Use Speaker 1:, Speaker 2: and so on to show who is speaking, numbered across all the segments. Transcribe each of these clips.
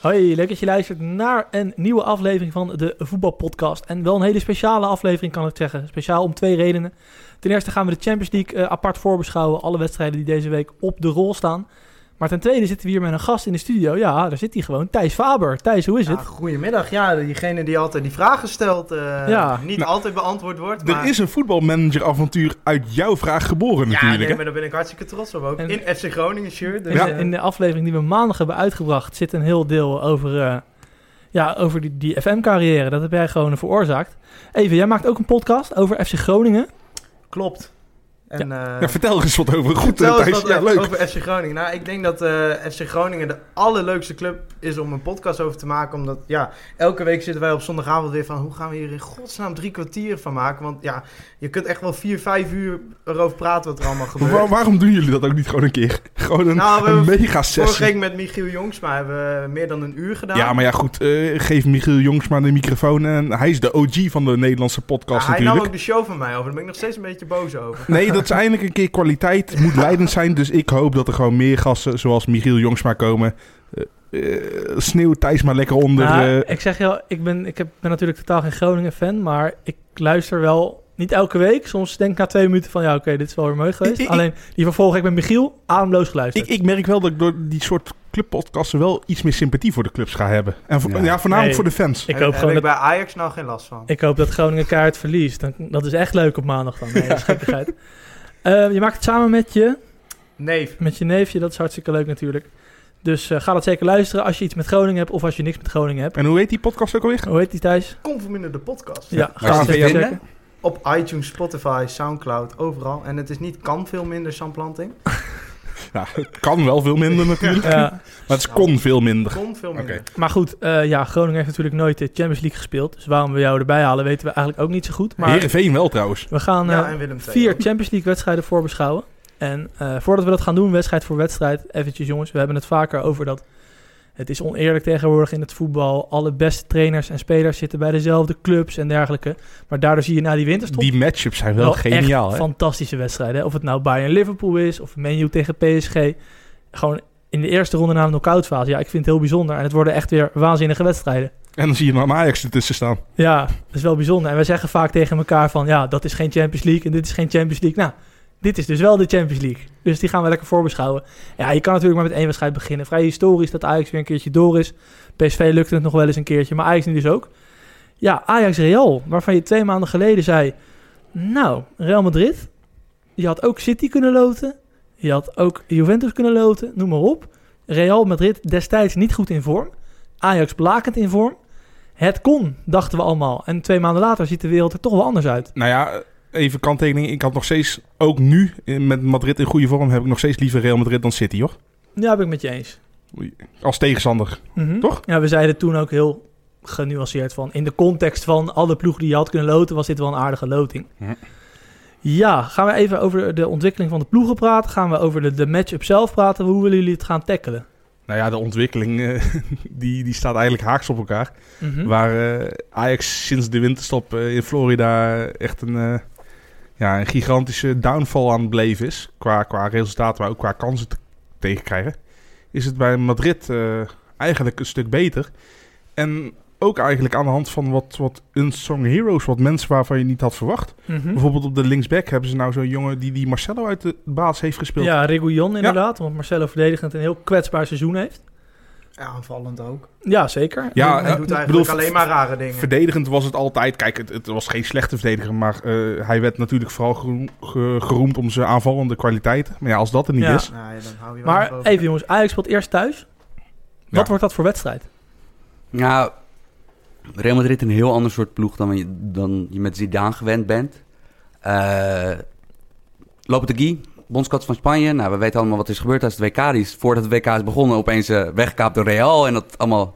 Speaker 1: Hoi, leuk dat je luistert naar een nieuwe aflevering van de Voetbalpodcast. En wel een hele speciale aflevering kan ik zeggen. Speciaal om twee redenen. Ten eerste gaan we de Champions League eh, apart voorbeschouwen. Alle wedstrijden die deze week op de rol staan. Maar ten tweede zitten we hier met een gast in de studio. Ja, daar zit hij gewoon. Thijs Faber. Thijs, hoe is
Speaker 2: Ja,
Speaker 1: het?
Speaker 2: Ah, goedemiddag. Ja, diegene die altijd die vragen stelt, eh,
Speaker 1: Ja.
Speaker 2: niet
Speaker 3: Nou,
Speaker 2: altijd beantwoord wordt.
Speaker 3: Er
Speaker 2: maar...
Speaker 3: is een voetbalmanageravontuur uit jouw vraag geboren
Speaker 2: Ja,
Speaker 3: natuurlijk.
Speaker 2: nee,
Speaker 3: hè?
Speaker 2: maar daar ben ik hartstikke trots op ook.
Speaker 1: En-
Speaker 2: In FC Groningen shirt. Dus,
Speaker 1: In,
Speaker 2: ja.
Speaker 1: de, in de aflevering die we maandag hebben uitgebracht zit een heel deel over, eh, ja, over die, die FM-carrière. Dat heb jij gewoon veroorzaakt. Even, jij maakt ook een podcast over FC Groningen.
Speaker 2: klopt. En, eh,
Speaker 3: Ja, vertel er eens wat over. Goed, eh,
Speaker 2: vertel eens
Speaker 3: Thijs.
Speaker 2: wat
Speaker 3: Ja, leuk.
Speaker 2: over FC Groningen. Nou, ik denk dat eh, FC Groningen de allerleukste club is om een podcast over te maken. Omdat, ja, elke week zitten wij op zondagavond weer van... hoe gaan we hier in godsnaam drie kwartier van maken? Want ja, je kunt echt wel vier, vijf uur erover praten wat er allemaal
Speaker 3: Maar
Speaker 2: gebeurt.
Speaker 3: waar- waarom doen jullie dat ook niet gewoon een keer? Gewoon een,
Speaker 2: Nou, we
Speaker 3: een
Speaker 2: hebben
Speaker 3: mega
Speaker 2: Vorige
Speaker 3: sessie.
Speaker 2: week met Michiel Jongsma hebben we meer dan een uur gedaan.
Speaker 3: Ja, maar ja, goed. eh, geef Michiel Jongsma de microfoon. En hij is de OG van de Nederlandse podcast
Speaker 2: Ja, hij nam
Speaker 3: natuurlijk.
Speaker 2: ook de show van mij over. Daar ben ik nog steeds een beetje boos over.
Speaker 3: Nee, dat is eindelijk een keer kwaliteit. Het moet leidend zijn. Dus ik hoop dat er gewoon meer gasten zoals Michiel Jongsma komen. Eh, eh, sneeuw Thijs maar lekker onder.
Speaker 1: Nou,
Speaker 3: eh,
Speaker 1: ik zeg jou, ik ben, ik heb, ben natuurlijk totaal geen Groningen-fan, maar ik luister wel niet elke week. Soms denk ik na twee minuten van, ja, oké, dit is wel weer mooi geweest.
Speaker 3: Ik- ik-
Speaker 1: Alleen, die vervolg heb ik met Michiel ademloos geluisterd.
Speaker 3: Ik, ik merk wel dat ik door die soort clubpodcasten wel iets meer sympathie voor de clubs ga hebben. En voor-
Speaker 4: Ja.
Speaker 3: ja, voornamelijk
Speaker 1: Nee.
Speaker 3: voor de fans.
Speaker 1: Ik
Speaker 2: Heb-
Speaker 1: hoop
Speaker 2: heb
Speaker 1: gewoon
Speaker 2: ik
Speaker 1: dat,
Speaker 2: bij Ajax nou geen last van.
Speaker 1: ik hoop dat Groningen kaart verliest. Dan, dat is echt leuk op maandag dan. Nee, dat is gekkigheid. Eh, je maakt het samen met je,
Speaker 2: Nee.
Speaker 1: met je neefje. Dat is hartstikke leuk natuurlijk. Dus eh, ga dat zeker luisteren als je iets met Groningen hebt of als je niks met Groningen hebt.
Speaker 3: En hoe heet die podcast ook alweer?
Speaker 1: Hoe heet die Thijs?
Speaker 2: Conforminder de podcast.
Speaker 1: Ja,
Speaker 4: is
Speaker 1: ga het
Speaker 4: die
Speaker 1: zeker
Speaker 4: te
Speaker 1: checken.
Speaker 2: Op iTunes, Spotify, Soundcloud, overal. En het is niet kan veel minder Sam Planting.
Speaker 3: Ja, kan wel veel minder natuurlijk.
Speaker 1: Ja.
Speaker 3: Maar het is kon veel minder.
Speaker 2: Kon veel minder.
Speaker 3: Oké.
Speaker 1: Maar goed, eh, ja, Groningen heeft natuurlijk nooit de Champions League gespeeld. Dus waarom we jou erbij halen, weten we eigenlijk ook niet zo goed. Maar
Speaker 3: Heerenveen wel trouwens.
Speaker 1: we gaan eh,
Speaker 2: Ja, en Willem II.
Speaker 1: vier Champions League wedstrijden voorbeschouwen. En eh, voordat we dat gaan doen, wedstrijd voor wedstrijd, eventjes jongens. We hebben het vaker over dat het is oneerlijk tegenwoordig in het voetbal. Alle beste trainers en spelers zitten bij dezelfde clubs en dergelijke. Maar daardoor zie je na die winterstop
Speaker 3: Die matchups zijn wel,
Speaker 1: echt
Speaker 3: geniaal. Hè?
Speaker 1: fantastische wedstrijden. hè. Of het nou Bayern-Liverpool is of Man U tegen PSG. Gewoon in de eerste ronde na een knock-outfase. Ja, ik vind het heel bijzonder. En het worden echt weer waanzinnige wedstrijden.
Speaker 3: En dan zie je dan Ajax ertussen staan.
Speaker 1: Ja, dat is wel bijzonder. En wij zeggen vaak tegen elkaar van... ja, dat is geen Champions League en dit is geen Champions League. Nou, dit is dus wel de Champions League. Dus die gaan we lekker voorbeschouwen. Ja, je kan natuurlijk maar met één wedstrijd beginnen. Vrij historisch dat Ajax weer een keertje door is. PSV lukte het nog wel eens een keertje, maar Ajax nu dus ook. Ja, Ajax-Real, waarvan je twee maanden geleden zei... nou, Real Madrid, je had ook City kunnen loten. Je had ook Juventus kunnen loten, noem maar op. Real Madrid destijds niet goed in vorm. Ajax blakend in vorm. Het kon, dachten we allemaal. En twee maanden later ziet de wereld er toch wel anders uit.
Speaker 3: Nou ja, even kanttekening. Ik had nog steeds, ook nu eh, met Madrid in goede vorm, heb ik nog steeds liever Real Madrid dan City hoor.
Speaker 1: Ja, ben ik met je eens.
Speaker 3: Als tegenstander.
Speaker 1: Mhm.
Speaker 3: Toch?
Speaker 1: Ja, we zeiden toen ook heel genuanceerd van... in de context van alle ploegen die je had kunnen loten... was dit wel een aardige loting.
Speaker 3: Ja.
Speaker 1: Ja, gaan we even over de ontwikkeling van de ploegen praten? Gaan we over de, de match-up zelf praten? Hoe willen jullie het gaan tackelen?
Speaker 3: Nou ja, de ontwikkeling eh, die, die staat eigenlijk haaks op elkaar.
Speaker 1: Mhm.
Speaker 3: Waar eh, Ajax sinds de winterstop eh, in Florida echt een, eh, ja, een gigantische downfall aan het beleven is. Qua, qua resultaten, maar ook qua kansen te- tegenkrijgen. Is het bij Madrid eh, eigenlijk een stuk beter. En ook eigenlijk aan de hand van wat, wat unsung heroes. Wat mensen waarvan je niet had verwacht.
Speaker 1: Mhm.
Speaker 3: Bijvoorbeeld op de linksback hebben ze nou zo'n jongen die, die Marcelo uit de baas heeft gespeeld.
Speaker 1: Ja, Reguillon inderdaad. Want Marcelo verdedigend een heel kwetsbaar seizoen heeft.
Speaker 2: Ja, aanvallend ook.
Speaker 1: Ja, zeker.
Speaker 3: Ja,
Speaker 2: Hij
Speaker 3: eh,
Speaker 2: doet
Speaker 3: ik
Speaker 2: eigenlijk
Speaker 3: bedoel,
Speaker 2: alleen maar rare dingen.
Speaker 3: Verdedigend was het altijd. Kijk, het, het was geen slechte verdediger. Maar eh, hij werd natuurlijk vooral geroem- ge- geroemd om zijn aanvallende kwaliteiten. Maar ja, als dat er niet
Speaker 1: Ja.
Speaker 3: is.
Speaker 2: Nou ja, dan hou je wel nog
Speaker 1: Maar
Speaker 2: over.
Speaker 1: even jongens, Ajax speelt eerst thuis. Wat
Speaker 3: Ja.
Speaker 1: wordt dat voor wedstrijd?
Speaker 4: Nou, Real Madrid een heel ander soort ploeg dan je, dan je met Zidane gewend bent. Eh Lopetegui bondscoach van Spanje. Nou, we weten allemaal wat er is gebeurd tijdens het WK. Die is voordat het WK is begonnen opeens eh, weggekaapt door Real en dat allemaal.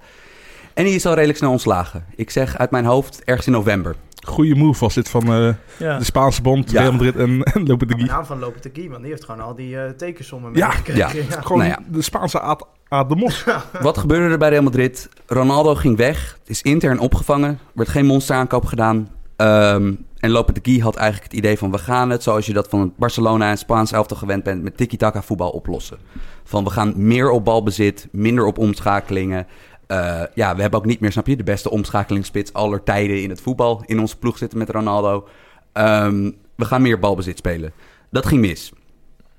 Speaker 4: En die is al redelijk snel ontslagen. Ik zeg uit mijn hoofd ergens in november.
Speaker 3: Goede move was dit van eh,
Speaker 1: Ja.
Speaker 3: de Spaanse bond,
Speaker 4: Ja.
Speaker 3: Real Madrid en, en Lopetegui.
Speaker 2: De naam van Lopetegui, want die heeft gewoon al die eh, tekensommen
Speaker 3: Ja,
Speaker 2: meegekregen. Ja.
Speaker 3: Gewoon
Speaker 4: Nou ja.
Speaker 3: de Spaanse aad, aad de mos.
Speaker 4: Wat gebeurde er bij Real Madrid? Ronaldo ging weg, is intern opgevangen, werd geen monsteraankoop gedaan. Ehm en Lopetegui had eigenlijk het idee van we gaan het, zoals je dat van het Barcelona en het Spaans elftal gewend bent, met tiki-taka voetbal oplossen. Van we gaan meer op balbezit, minder op omschakelingen. Eh, ja, we hebben ook niet meer, snap je, de beste omschakelingsspits aller tijden in het voetbal in onze ploeg zitten met Ronaldo. Ehm, we gaan meer balbezit spelen. Dat ging mis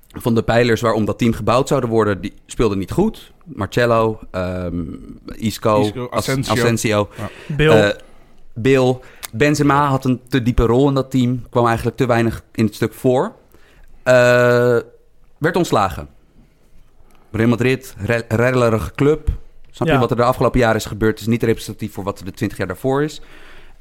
Speaker 4: van de pijlers waarom dat team gebouwd zouden worden, die speelden niet goed. Marcello, ehm, Isco,
Speaker 3: Isco,
Speaker 4: As-
Speaker 3: Asensio.
Speaker 4: Asensio,
Speaker 1: Bill.
Speaker 4: eh, Bill. Benzema had een te diepe rol in dat team. Kwam eigenlijk te weinig in het stuk voor. Eh, werd ontslagen. Real Madrid, re- reddelerige club. Snap je
Speaker 1: Ja.
Speaker 4: wat er de afgelopen jaren is gebeurd? Is niet representatief voor wat er de 20 jaar daarvoor is.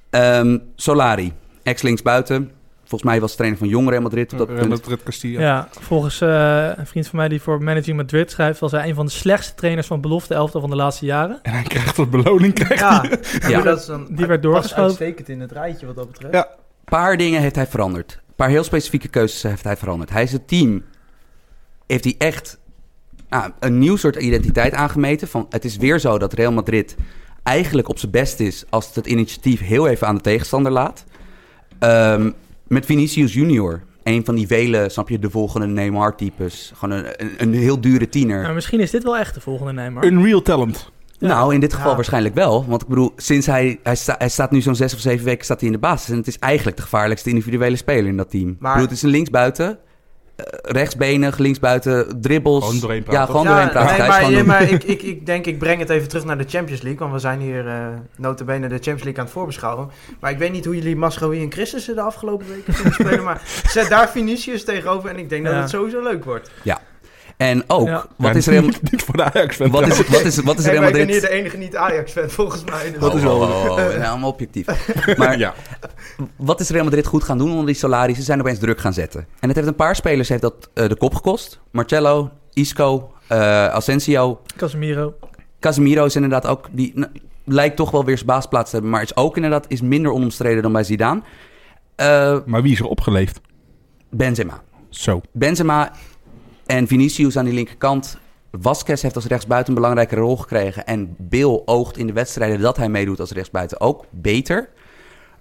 Speaker 4: Ehm, Solari, ex-linksbuiten. Volgens mij was trainer van jong Real Madrid op dat
Speaker 3: eh, Real
Speaker 4: punt.
Speaker 3: Madrid Castilla.
Speaker 1: Ja, volgens eh, een vriend van mij die voor Managing Madrid schrijft, was hij een van de slechtste trainers van belofte elftal van de laatste jaren.
Speaker 3: En hij krijgt wat beloning. Krijgt.
Speaker 2: Ja,
Speaker 4: Ja.
Speaker 2: Maar dat is dan,
Speaker 1: Die werd
Speaker 2: past
Speaker 1: doorgeschoven.
Speaker 2: uitstekend in het rijtje wat dat betreft.
Speaker 3: Ja.
Speaker 4: paar dingen heeft hij veranderd. Een paar heel specifieke keuzes heeft hij veranderd. Hij is het team. Heeft hij echt ah, een nieuw soort identiteit aangemeten? Van, het is weer zo dat Real Madrid eigenlijk op zijn best is als het het initiatief heel even aan de tegenstander laat. Ehm, met Vinicius Junior. Een van die vele, snap je, de volgende Neymar-types. Gewoon een, een, een heel dure tiener.
Speaker 1: Maar misschien is dit wel echt de volgende Neymar.
Speaker 3: Unreal talent.
Speaker 1: Ja.
Speaker 4: Nou, in dit geval
Speaker 2: Ja.
Speaker 4: waarschijnlijk wel. Want ik bedoel, sinds hij, hij, sta- hij staat nu zo'n zes of zeven weken staat hij in de basis. En het is eigenlijk de gevaarlijkste individuele speler in dat team. Ik bedoel, het is een linksbuiten. eh, rechtsbenig, linksbuiten, dribbels.
Speaker 3: Gewoon doorheen praten.
Speaker 4: Ja, gewoon doorheen praten.
Speaker 2: nee,
Speaker 4: Hij is
Speaker 2: maar,
Speaker 4: gewoon
Speaker 2: nee,
Speaker 4: een-
Speaker 2: maar ik, ik, ik denk, ik breng het even terug naar de Champions League. Want we zijn hier eh notabene de Champions League aan het voorbeschouwen. Maar ik weet niet hoe jullie Mascowie en Christensen de afgelopen weken vinden spelen. Maar zet daar Vinicius tegenover en ik denk dat
Speaker 1: Ja.
Speaker 2: het sowieso leuk wordt.
Speaker 4: En ook,
Speaker 1: Ja.
Speaker 3: Ja,
Speaker 4: wat is Real,
Speaker 3: niet, niet voor de ajax fan
Speaker 4: wat is, wat is, wat is
Speaker 2: Hey,
Speaker 4: Real
Speaker 2: maar ik ben hier de
Speaker 4: Madrid...
Speaker 2: enige niet-Ajax-fan volgens mij. Dus
Speaker 4: Oh, oh, oh, oh, we zijn allemaal objectief. Maar
Speaker 3: ja.
Speaker 4: wat is Real Madrid goed gaan doen onder die salarissen? Ze zijn opeens druk gaan zetten. En het heeft een paar spelers heeft dat, eh, de kop gekost. Marcello, Isco, eh, Asensio,
Speaker 1: Casemiro.
Speaker 4: Casemiro is inderdaad ook... Die nou, lijkt toch wel weer zijn baasplaats te hebben. Maar is ook inderdaad is minder onomstreden dan bij Zidane. Eh,
Speaker 3: Maar wie is er opgeleefd?
Speaker 4: Benzema.
Speaker 3: Zo.
Speaker 4: Benzema en Vinicius aan die linkerkant. Vasquez heeft als rechtsbuiten een belangrijke rol gekregen. En Bill oogt in de wedstrijden dat hij meedoet als rechtsbuiten ook beter.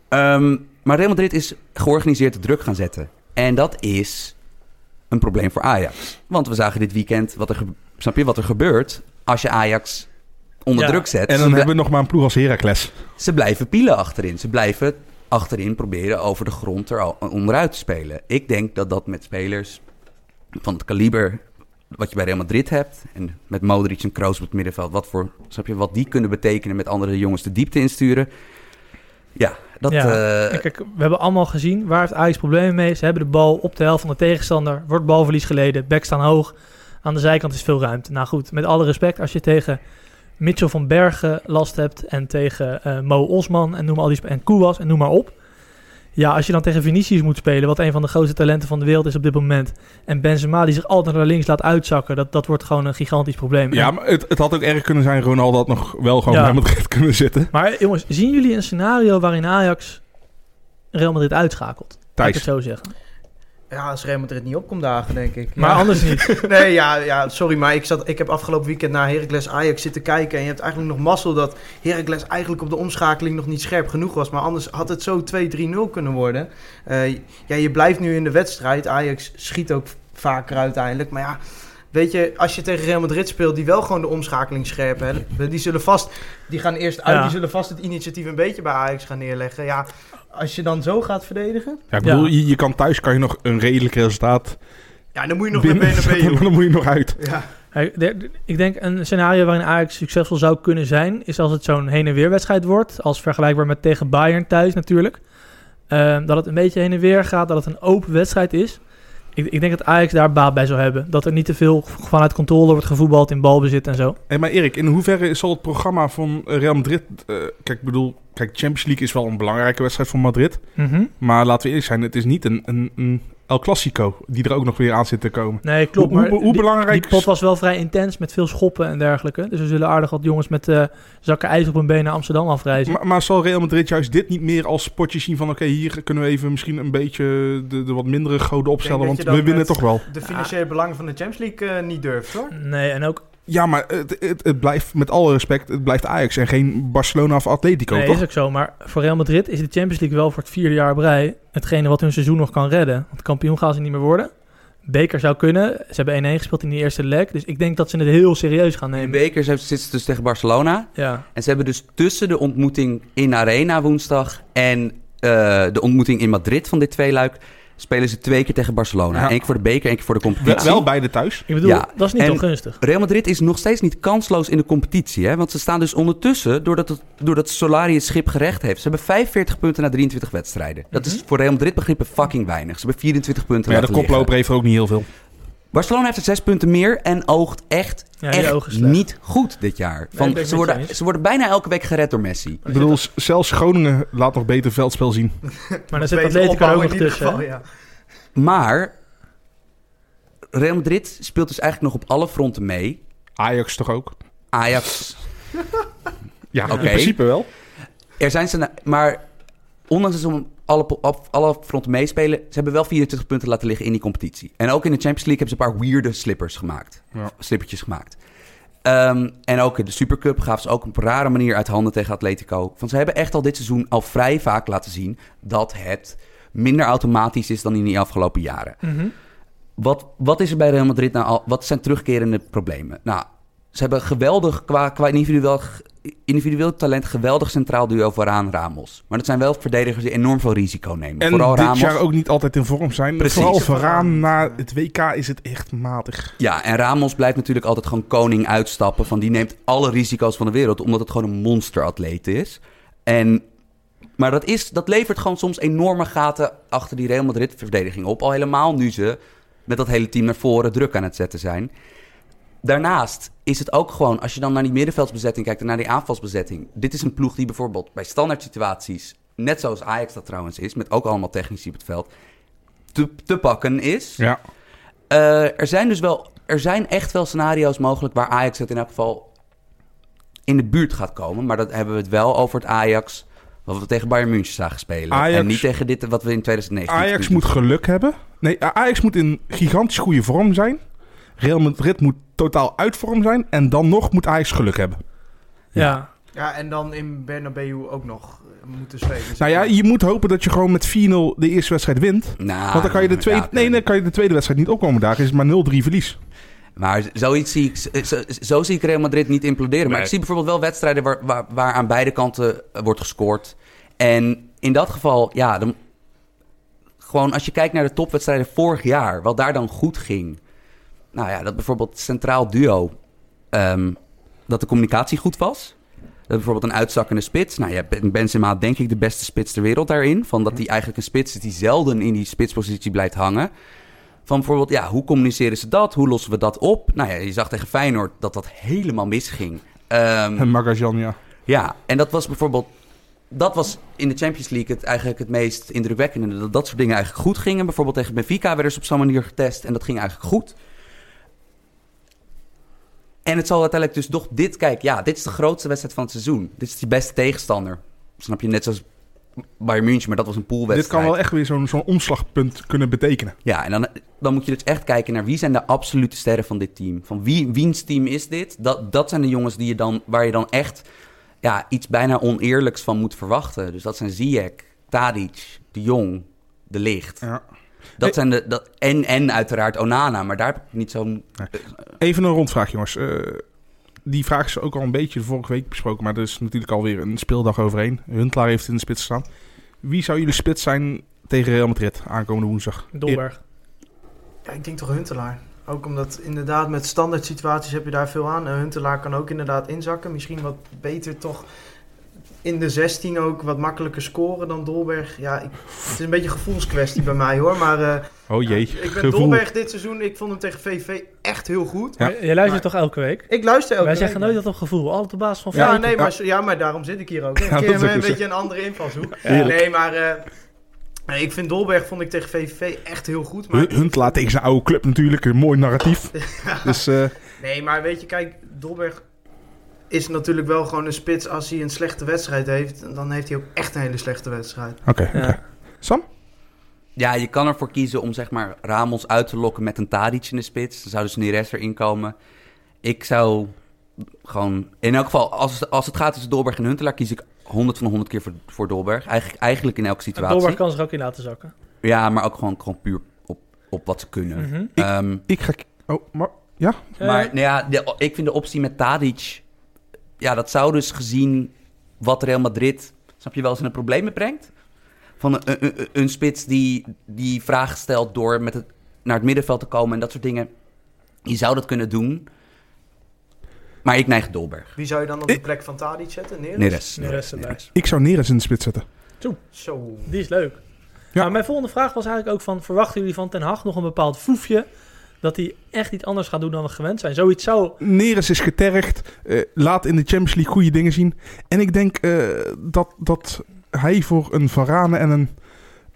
Speaker 4: Ehm, maar Real Madrid is georganiseerd druk gaan zetten. En dat is een probleem voor Ajax. Want we zagen dit weekend, wat er, gebe- snap je wat er gebeurt als je Ajax onder
Speaker 1: Ja,
Speaker 4: druk zet?
Speaker 3: En
Speaker 4: Ze
Speaker 3: dan
Speaker 4: bl-
Speaker 3: hebben we nog maar een ploeg als Heracles.
Speaker 4: ze blijven pielen achterin. Ze blijven achterin proberen over de grond er al- onderuit te spelen. Ik denk dat dat met spelers van het kaliber wat je bij Real Madrid hebt... en met Modric en Kroos op het middenveld... wat, voor, snap je, wat die kunnen betekenen met andere jongens de diepte insturen... Ja, dat...
Speaker 1: Ja.
Speaker 4: eh,
Speaker 1: En Kijk, we hebben allemaal gezien waar heeft Ajax problemen mee. Ze hebben de bal op de helft van de tegenstander. Wordt balverlies geleden. Backs staan hoog. Aan de zijkant is veel ruimte. Nou goed, met alle respect, als je tegen Mitchell van Bergen last hebt en tegen eh, Mo Osman en noem al die sp- en Kouwas en noem maar op. Ja, als je dan tegen Vinicius moet spelen, wat een van de grootste talenten van de wereld is op dit moment. En Benzema die zich altijd naar links laat uitzakken, dat, dat wordt gewoon een gigantisch probleem.
Speaker 3: Ja,
Speaker 1: En-
Speaker 3: maar het, het had ook erg kunnen zijn. Ronaldo had nog wel gewoon
Speaker 1: Ja.
Speaker 3: bij Madrid kunnen zitten.
Speaker 1: maar jongens, zien jullie een scenario waarin Ajax Real Madrid uitschakelt? Laat ik het
Speaker 3: Thijs.
Speaker 1: zo zeggen.
Speaker 2: Ja, als Real Madrid niet op komt dagen, denk ik.
Speaker 1: Maar
Speaker 2: Ja.
Speaker 1: anders niet.
Speaker 2: Nee, ja, ja, sorry, maar ik, zat, ik heb afgelopen weekend naar Heracles Ajax zitten kijken. En je hebt eigenlijk nog mazzel dat Heracles eigenlijk op de omschakeling nog niet scherp genoeg was. Maar anders had het zo 2-3-0 kunnen worden. Eh, ja, je blijft nu in de wedstrijd. Ajax schiet ook vaker uiteindelijk. Maar ja, weet je, als je tegen Real Madrid speelt, die wel gewoon de omschakeling scherp hebben. Die zullen vast, die gaan eerst uit,
Speaker 1: Ja.
Speaker 2: die zullen vast het initiatief een beetje bij Ajax gaan neerleggen. Ja, als je dan zo gaat verdedigen,
Speaker 3: Ja, ik bedoel,
Speaker 1: Ja.
Speaker 3: Je, je kan thuis kan je nog een redelijk resultaat
Speaker 2: ja, dan moet je nog
Speaker 3: binnen-
Speaker 2: met benen mee.
Speaker 3: dan moet je nog uit.
Speaker 2: Ja.
Speaker 1: Hey, de- de- Ik denk een scenario waarin Ajax succesvol zou kunnen zijn, is als het zo'n heen en weer wedstrijd wordt, als vergelijkbaar met tegen Bayern thuis natuurlijk. Ehm, dat het een beetje heen en weer gaat, dat het een open wedstrijd is. Ik, ik denk dat Ajax daar baat bij zou hebben. Dat er niet te veel vanuit controle wordt gevoetbald in balbezit en zo.
Speaker 3: Hey, maar Erik, in hoeverre zal het programma van eh, Real Madrid... eh, kijk, ik bedoel, kijk, Champions League is wel een belangrijke wedstrijd voor Madrid.
Speaker 1: Mhm.
Speaker 3: Maar laten we eerlijk zijn, het is niet een, een, een El Clasico, die er ook nog weer aan zit te komen.
Speaker 1: Nee, klopt.
Speaker 3: hoe,
Speaker 1: maar
Speaker 3: hoe, hoe
Speaker 1: die-
Speaker 3: belangrijk
Speaker 1: Die pot was wel vrij intens met veel schoppen en dergelijke. Dus er zullen aardig wat jongens met eh, zakken ijs op hun been naar Amsterdam afreizen.
Speaker 3: Maar, maar zal Real Madrid juist dit niet meer als potje zien van... oké, hier kunnen we even misschien een beetje de, de wat mindere goden opstellen...
Speaker 2: dat
Speaker 3: want
Speaker 2: je
Speaker 3: we
Speaker 2: dan
Speaker 3: winnen
Speaker 2: met-
Speaker 3: toch wel.
Speaker 2: De financiële belangen van de Champions League eh, niet durft, hoor.
Speaker 1: Nee, en ook...
Speaker 3: Ja, maar het, het, het blijft, met alle respect, het blijft Ajax... en geen Barcelona of Atletico,
Speaker 1: Nee,
Speaker 3: toch?
Speaker 1: is ook zo. Maar voor Real Madrid is de Champions League wel voor het vierde jaar op rij... hetgene wat hun seizoen nog kan redden. Want kampioen gaan ze niet meer worden. Beker zou kunnen. Ze hebben 1-1 gespeeld in die eerste leg. Dus ik denk dat ze het heel serieus gaan
Speaker 4: In
Speaker 1: nemen.
Speaker 4: bekers heeft- zitten ze dus tegen Barcelona.
Speaker 1: Ja.
Speaker 4: En ze hebben dus tussen de ontmoeting in Arena woensdag en eh, de ontmoeting in Madrid van dit tweeluik... spelen ze twee keer tegen Barcelona.
Speaker 3: Ja.
Speaker 4: Eén keer voor de beker, één keer voor de
Speaker 3: Wel,
Speaker 4: competitie.
Speaker 3: wel beide thuis.
Speaker 1: Ik bedoel,
Speaker 4: Ja,
Speaker 1: dat is niet
Speaker 4: en-
Speaker 1: ongunstig.
Speaker 4: Real Madrid is nog steeds niet kansloos in de competitie. Hè? Want ze staan dus ondertussen, doordat, het, doordat Solari het schip gerecht heeft. Ze hebben 45 punten na 23 wedstrijden. Dat is voor Real Madrid begrippen fucking weinig. Ze hebben 24 punten
Speaker 3: Maar ja, de
Speaker 4: laten
Speaker 3: koploper
Speaker 4: liggen.
Speaker 3: heeft er ook niet heel veel.
Speaker 4: Barcelona heeft er 6 punten meer en oogt echt,
Speaker 1: Ja, die ogen
Speaker 4: echt
Speaker 1: slecht.
Speaker 4: niet goed dit jaar. Van,
Speaker 1: ik ben met
Speaker 4: ze,
Speaker 1: je
Speaker 4: worden,
Speaker 1: eens.
Speaker 4: ze worden bijna elke week gered door Messi.
Speaker 3: Ik bedoel, s- zelfs Groningen laat nog beter veldspel zien.
Speaker 1: Maar dan zit
Speaker 2: Beter
Speaker 1: Atletico er ook
Speaker 2: opbouwen
Speaker 1: nog
Speaker 2: in ieder
Speaker 1: tussen. hè?
Speaker 2: geval, ja.
Speaker 4: Maar Real Madrid speelt dus eigenlijk nog op alle fronten mee.
Speaker 3: Ajax toch ook?
Speaker 4: Ajax
Speaker 3: Ja,
Speaker 4: Oké.
Speaker 3: in principe wel.
Speaker 4: Er zijn ze, na- maar ondanks dat ze om alle, po- op, alle fronten meespelen, ze hebben wel 24 punten laten liggen in die competitie. En ook in de Champions League hebben ze een paar weirde slippers gemaakt,
Speaker 3: Ja.
Speaker 4: slippertjes gemaakt. Ehm, en ook in de Supercup gaven ze ook op een rare manier uit handen tegen Atletico. Want ze hebben echt al dit seizoen al vrij vaak laten zien dat het minder automatisch is dan in die afgelopen jaren.
Speaker 1: Mhm.
Speaker 4: Wat, wat is er bij Real Madrid nou al? Wat zijn terugkerende problemen? Nou, ze hebben geweldig qua, qua individueel, individueel talent geweldig centraal duo vooraan Ramos. Maar dat zijn wel verdedigers die enorm veel risico nemen.
Speaker 3: En
Speaker 4: Vooral
Speaker 3: dit
Speaker 4: Ramos.
Speaker 3: jaar ook niet altijd in vorm zijn.
Speaker 4: Precies.
Speaker 3: Vooral vooraan na het WK is het echt matig.
Speaker 4: Ja, en Ramos blijft natuurlijk altijd gewoon koning uitstappen. Van die neemt alle risico's van de wereld, omdat het gewoon een monsteratleet is. En, maar dat, is, dat levert gewoon soms enorme gaten achter die Real Madrid-verdediging op. Al helemaal nu ze met dat hele team naar voren druk aan het zetten zijn. Daarnaast is het ook gewoon, als je dan naar die middenveldsbezetting kijkt en naar die aanvalsbezetting. Dit is een ploeg die bijvoorbeeld bij standaard situaties, net zoals Ajax dat trouwens is, met ook allemaal technici op het veld, te, te pakken is.
Speaker 3: Ja.
Speaker 4: Eh, er zijn dus wel, er zijn echt wel scenario's mogelijk waar Ajax het in elk geval in de buurt gaat komen. Maar dat hebben we het wel over het Ajax wat we tegen Bayern München zagen spelen.
Speaker 3: Ajax-
Speaker 4: en niet tegen dit wat we in 2019
Speaker 3: Ajax
Speaker 4: doen.
Speaker 3: moet geluk hebben. Nee, A- Ajax moet in gigantisch goede vorm zijn. Real Madrid moet totaal uit vorm zijn. En dan nog moet Ajax geluk hebben.
Speaker 1: Ja.
Speaker 2: Ja, en dan in Bernabeu ook nog eh, moeten spelen.
Speaker 3: Nou ja, je moet hopen dat je gewoon met 4-0 de eerste wedstrijd wint.
Speaker 4: Nou,
Speaker 3: Want dan kan je de tweede,
Speaker 4: ja,
Speaker 3: nee, dan kan je de tweede wedstrijd niet opkomen. Daar is het maar 0-3 verlies.
Speaker 4: Maar zoiets zie ik, zo- zo, zo zie ik Real Madrid niet imploderen. Maar
Speaker 3: Nee.
Speaker 4: ik zie bijvoorbeeld wel wedstrijden waar, waar, waar aan beide kanten eh, wordt gescoord. En in dat geval, ja, dan, gewoon als je kijkt naar de topwedstrijden vorig jaar, wat daar dan goed ging. Nou ja, dat bijvoorbeeld centraal duo, ehm, dat de communicatie goed was. Dat bijvoorbeeld een uitzakkende spits. Nou ja, Ben- Benzema had denk ik de beste spits ter wereld daarin. Van dat hij eigenlijk een spits is die zelden in die spitspositie blijft hangen. Van bijvoorbeeld, ja, hoe communiceren ze dat? Hoe lossen we dat op? Nou ja, je zag tegen Feyenoord dat dat helemaal misging. Ehm,
Speaker 3: En Magajan, ja.
Speaker 4: ja, en dat was bijvoorbeeld... Dat was in de Champions League het, eigenlijk het meest indrukwekkende. Dat dat soort dingen eigenlijk goed gingen. Bijvoorbeeld tegen Benfica werden ze op zo'n manier getest. En dat ging eigenlijk goed. En het zal uiteindelijk dus toch dit... Kijk, ja, dit is de grootste wedstrijd van het seizoen. Dit is die beste tegenstander. Snap je? Net zoals Bayern München, maar dat was een poolwedstrijd.
Speaker 3: Dit kan wel echt weer zo'n zo'n omslagpunt kunnen betekenen.
Speaker 4: Ja, en dan, dan moet je dus echt kijken naar wie zijn de absolute sterren van dit team. Van wie, wiens team is dit? Dat, dat zijn de jongens die je dan, waar je dan echt ja, iets bijna oneerlijks van moet verwachten. Dus dat zijn Ziyech, Tadic, De Jong, De Licht.
Speaker 3: Ja.
Speaker 4: Dat zijn de, dat, en, en uiteraard Onana, maar daar heb ik niet zo'n...
Speaker 3: Even een rondvraag, jongens. Eh, die vraag is ook al een beetje de vorige week besproken, maar er is natuurlijk alweer een speeldag overheen. Huntelaar heeft in de spits staan. Wie zou jullie spits zijn tegen Real Madrid aankomende woensdag?
Speaker 1: Dolberg.
Speaker 2: Ja, ik denk toch Huntelaar. Ook omdat inderdaad met standaard situaties heb je daar veel aan. En Huntelaar kan ook inderdaad inzakken. Misschien wat beter toch in de 16 ook wat makkelijker scoren dan Dolberg. Ja, ik, het is een beetje een gevoelskwestie bij mij hoor. Maar eh,
Speaker 3: Oh jee,
Speaker 2: ja, ik ben
Speaker 3: gevoel.
Speaker 2: Dolberg dit seizoen. Ik vond hem tegen VV echt heel goed.
Speaker 3: Ja.
Speaker 1: Je- Je luistert toch elke week?
Speaker 2: Ik luister elke
Speaker 1: Wij
Speaker 2: week
Speaker 1: zeggen nooit dat op gevoel. Altijd op basis van
Speaker 2: Ja,
Speaker 1: feiten.
Speaker 2: nee,
Speaker 3: ja.
Speaker 2: maar, ja, maar daarom zit ik hier ook.
Speaker 3: dat
Speaker 2: Een
Speaker 3: is
Speaker 2: keer
Speaker 3: ook
Speaker 2: met een
Speaker 3: zo.
Speaker 2: beetje een andere invalshoek.
Speaker 3: Heerlijk.
Speaker 2: Nee, maar eh, Nee, Ik vind Dolberg vond ik tegen VVV echt heel goed. Maar
Speaker 3: Hun- Hunt laat tegen zijn oude club natuurlijk. Een mooi narratief. Dus eh,
Speaker 2: Nee, maar weet je, kijk, Dolberg is natuurlijk wel gewoon een spits. Als hij een slechte wedstrijd heeft, dan heeft hij ook echt een hele slechte wedstrijd.
Speaker 3: oké. oké.
Speaker 1: Ja.
Speaker 3: Sam?
Speaker 4: Ja, je kan ervoor kiezen om zeg maar Ramos uit te lokken met een Tadic in de spits. Dan zou dus Neres erin komen. Ik zou gewoon... In elk geval, als, als het gaat tussen Dolberg en Huntelaar... kies ik 100 van de 100 keer voor, voor Dolberg. Eigenlijk, eigenlijk in elke
Speaker 1: En
Speaker 4: situatie.
Speaker 1: Dolberg kan zich ook in laten zakken.
Speaker 4: Ja, maar ook gewoon, gewoon puur op, op wat ze kunnen.
Speaker 1: Mhm.
Speaker 4: Ehm,
Speaker 3: Ik ga... k- Oh, maar... Ja?
Speaker 1: Eh,
Speaker 4: maar nou ja, de- ik vind de optie met Tadic... Ja, dat zou dus gezien wat Real Madrid... Snap je wel eens in de problemen brengt? Van een, een, een- een spits die, die vragen stelt door met het, naar het middenveld te komen en dat soort dingen. Je zou dat kunnen doen. Maar ik neig Dolberg.
Speaker 2: Wie zou je dan op de plek van Tadic zetten? Neres?
Speaker 4: Neres.
Speaker 1: Neres erbij.
Speaker 3: Ik zou Neres in de spits zetten.
Speaker 2: Zo.
Speaker 1: Die is leuk.
Speaker 3: Ja.
Speaker 1: Maar mijn volgende vraag was eigenlijk ook van... verwachten jullie van Ten Hag nog een bepaald foefje... dat hij echt iets anders gaat doen dan we gewend zijn? Zoiets zou...
Speaker 3: Neres is getergd. eh, laat in de Champions League goede dingen zien. En ik denk eh, dat, dat hij voor een Varane en een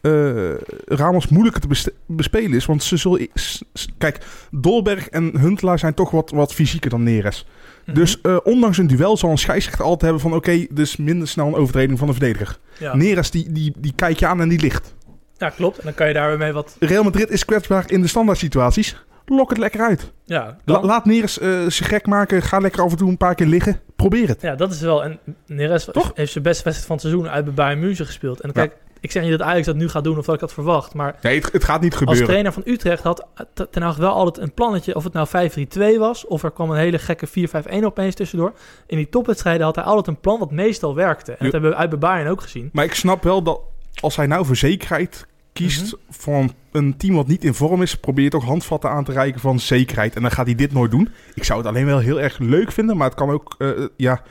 Speaker 3: eh, Ramos moeilijker te beste- bespelen is. Want ze zullen... s- s- Kijk, Dolberg en Huntelaar zijn toch wat, wat fysieker dan Neres.
Speaker 1: Mhm.
Speaker 3: Dus eh, ondanks een duel zal een scheidsrechter altijd hebben van... Oké, dus minder snel een overtreding van de verdediger.
Speaker 1: Ja.
Speaker 3: Neres, die, die, die kijk je aan en die ligt.
Speaker 1: ja, klopt. En dan kan je daar weer mee wat...
Speaker 3: Real Madrid is kwetsbaar in de standaard situaties. Lok het lekker uit.
Speaker 1: Ja,
Speaker 3: La-
Speaker 1: dan-
Speaker 3: laat Neres eh, zich gek maken. Ga lekker af en toe een paar keer liggen. Probeer het.
Speaker 1: ja, dat is wel... En Neres
Speaker 3: Toch?
Speaker 1: heeft zijn beste wedstrijd van het seizoen... uit bij Bayern München gespeeld. En kijk, ik zeg niet dat Ajax dat nu gaat doen... of dat ik dat verwacht. Maar
Speaker 3: Nee, het, het gaat niet
Speaker 1: als
Speaker 3: gebeuren.
Speaker 1: trainer van Utrecht had eh, T- Ten Hag wel altijd een plannetje... of het nou 5-3-2 was... of er kwam een hele gekke 4-5-1 opeens tussendoor. In die topwedstrijden had hij altijd een plan... wat meestal werkte. En
Speaker 3: Jo-
Speaker 1: dat hebben we uit bij Bayern ook gezien.
Speaker 3: Maar ik snap wel dat als hij nou voor zekerheid kiest
Speaker 1: Mhm.
Speaker 3: voor een, een team wat niet in vorm is... probeer je toch handvatten aan te reiken van zekerheid. En dan gaat hij dit nooit doen. Ik zou het alleen wel heel erg leuk vinden. Maar het kan ook... eh, ja,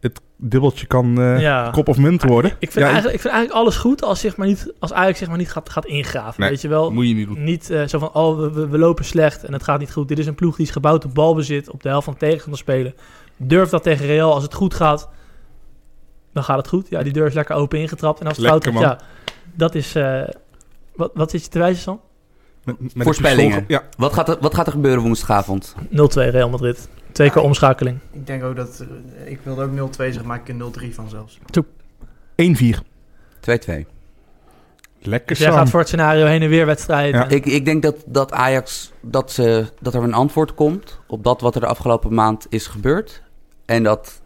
Speaker 3: het dubbeltje kan eh,
Speaker 1: ja. Ah,
Speaker 3: kop of munt worden.
Speaker 1: Ik vind,
Speaker 3: Ja,
Speaker 1: eigenlijk, ik vind eigenlijk alles goed als, zich maar niet, als Ajax zich maar niet gaat, gaat ingraven.
Speaker 3: Nee,
Speaker 1: weet je wel?
Speaker 3: moet je niet doen.
Speaker 1: Niet eh, zo van, oh, we, we- we lopen slecht en het gaat niet goed. Dit is een ploeg die is gebouwd op balbezit, op de helft van de tegenstander spelen. Durf dat tegen Real. Als het goed gaat, dan gaat het goed. Ja, die deur is lekker open ingetrapt. En als het
Speaker 3: Lekker,
Speaker 1: fout gaat, ja, dat is... eh, wat, wat zit je te wijzen, Sam? 0-2
Speaker 3: Met- met een
Speaker 4: Voorspellingen.
Speaker 3: pistool- Ja,
Speaker 4: Wat gaat, er, wat gaat er gebeuren woensdagavond?
Speaker 1: Real Madrid. Twee keer omschakeling.
Speaker 2: Ik denk ook dat... eh, Ik wilde ook 0-2 zeggen, maar ik een 0-3 van zelfs.
Speaker 3: 1-4.
Speaker 4: 2-2.
Speaker 3: Lekker
Speaker 1: Dus jij gaat voor het scenario heen en weer wedstrijden.
Speaker 3: Ja.
Speaker 4: Ik, ik denk dat, dat Ajax, dat, ze, dat er een antwoord komt op dat wat er de afgelopen maand is gebeurd. En dat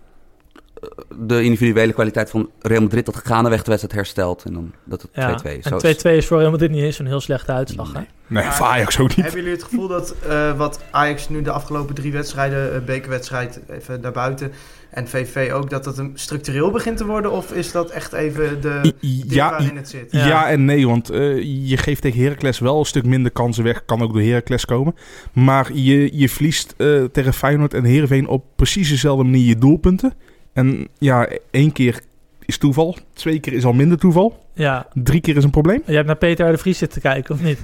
Speaker 4: eh, de individuele kwaliteit van Real Madrid dat gaandeweg de wedstrijd herstelt. En dan dat het 2-2
Speaker 1: Ja,
Speaker 4: is. Zo
Speaker 1: en
Speaker 4: is-
Speaker 1: 2-2 is voor Real Madrid niet eens een heel slechte uitslag. Hè?
Speaker 3: Nee, voor Ajax ook niet.
Speaker 2: Hebben jullie het gevoel dat eh, wat Ajax nu de afgelopen drie wedstrijden, eh, bekerwedstrijd even daarbuiten en VV ook, dat dat een structureel begint te worden? Of is dat echt even de... eh, dit
Speaker 3: Ja,
Speaker 2: waarin het zit?
Speaker 3: Ja.
Speaker 1: Ja.
Speaker 3: en nee, want eh, je geeft tegen Heracles wel een stuk minder kansen weg. Kan ook door Heracles komen. Maar je, je verliest eh, tegen Feyenoord en Heerenveen op precies dezelfde manier je doelpunten. En ja, één keer is toeval. Twee keer is al minder toeval.
Speaker 1: Ja.
Speaker 3: Drie keer is een probleem.
Speaker 1: Jij hebt naar Peter R. de Vries zitten kijken, of niet?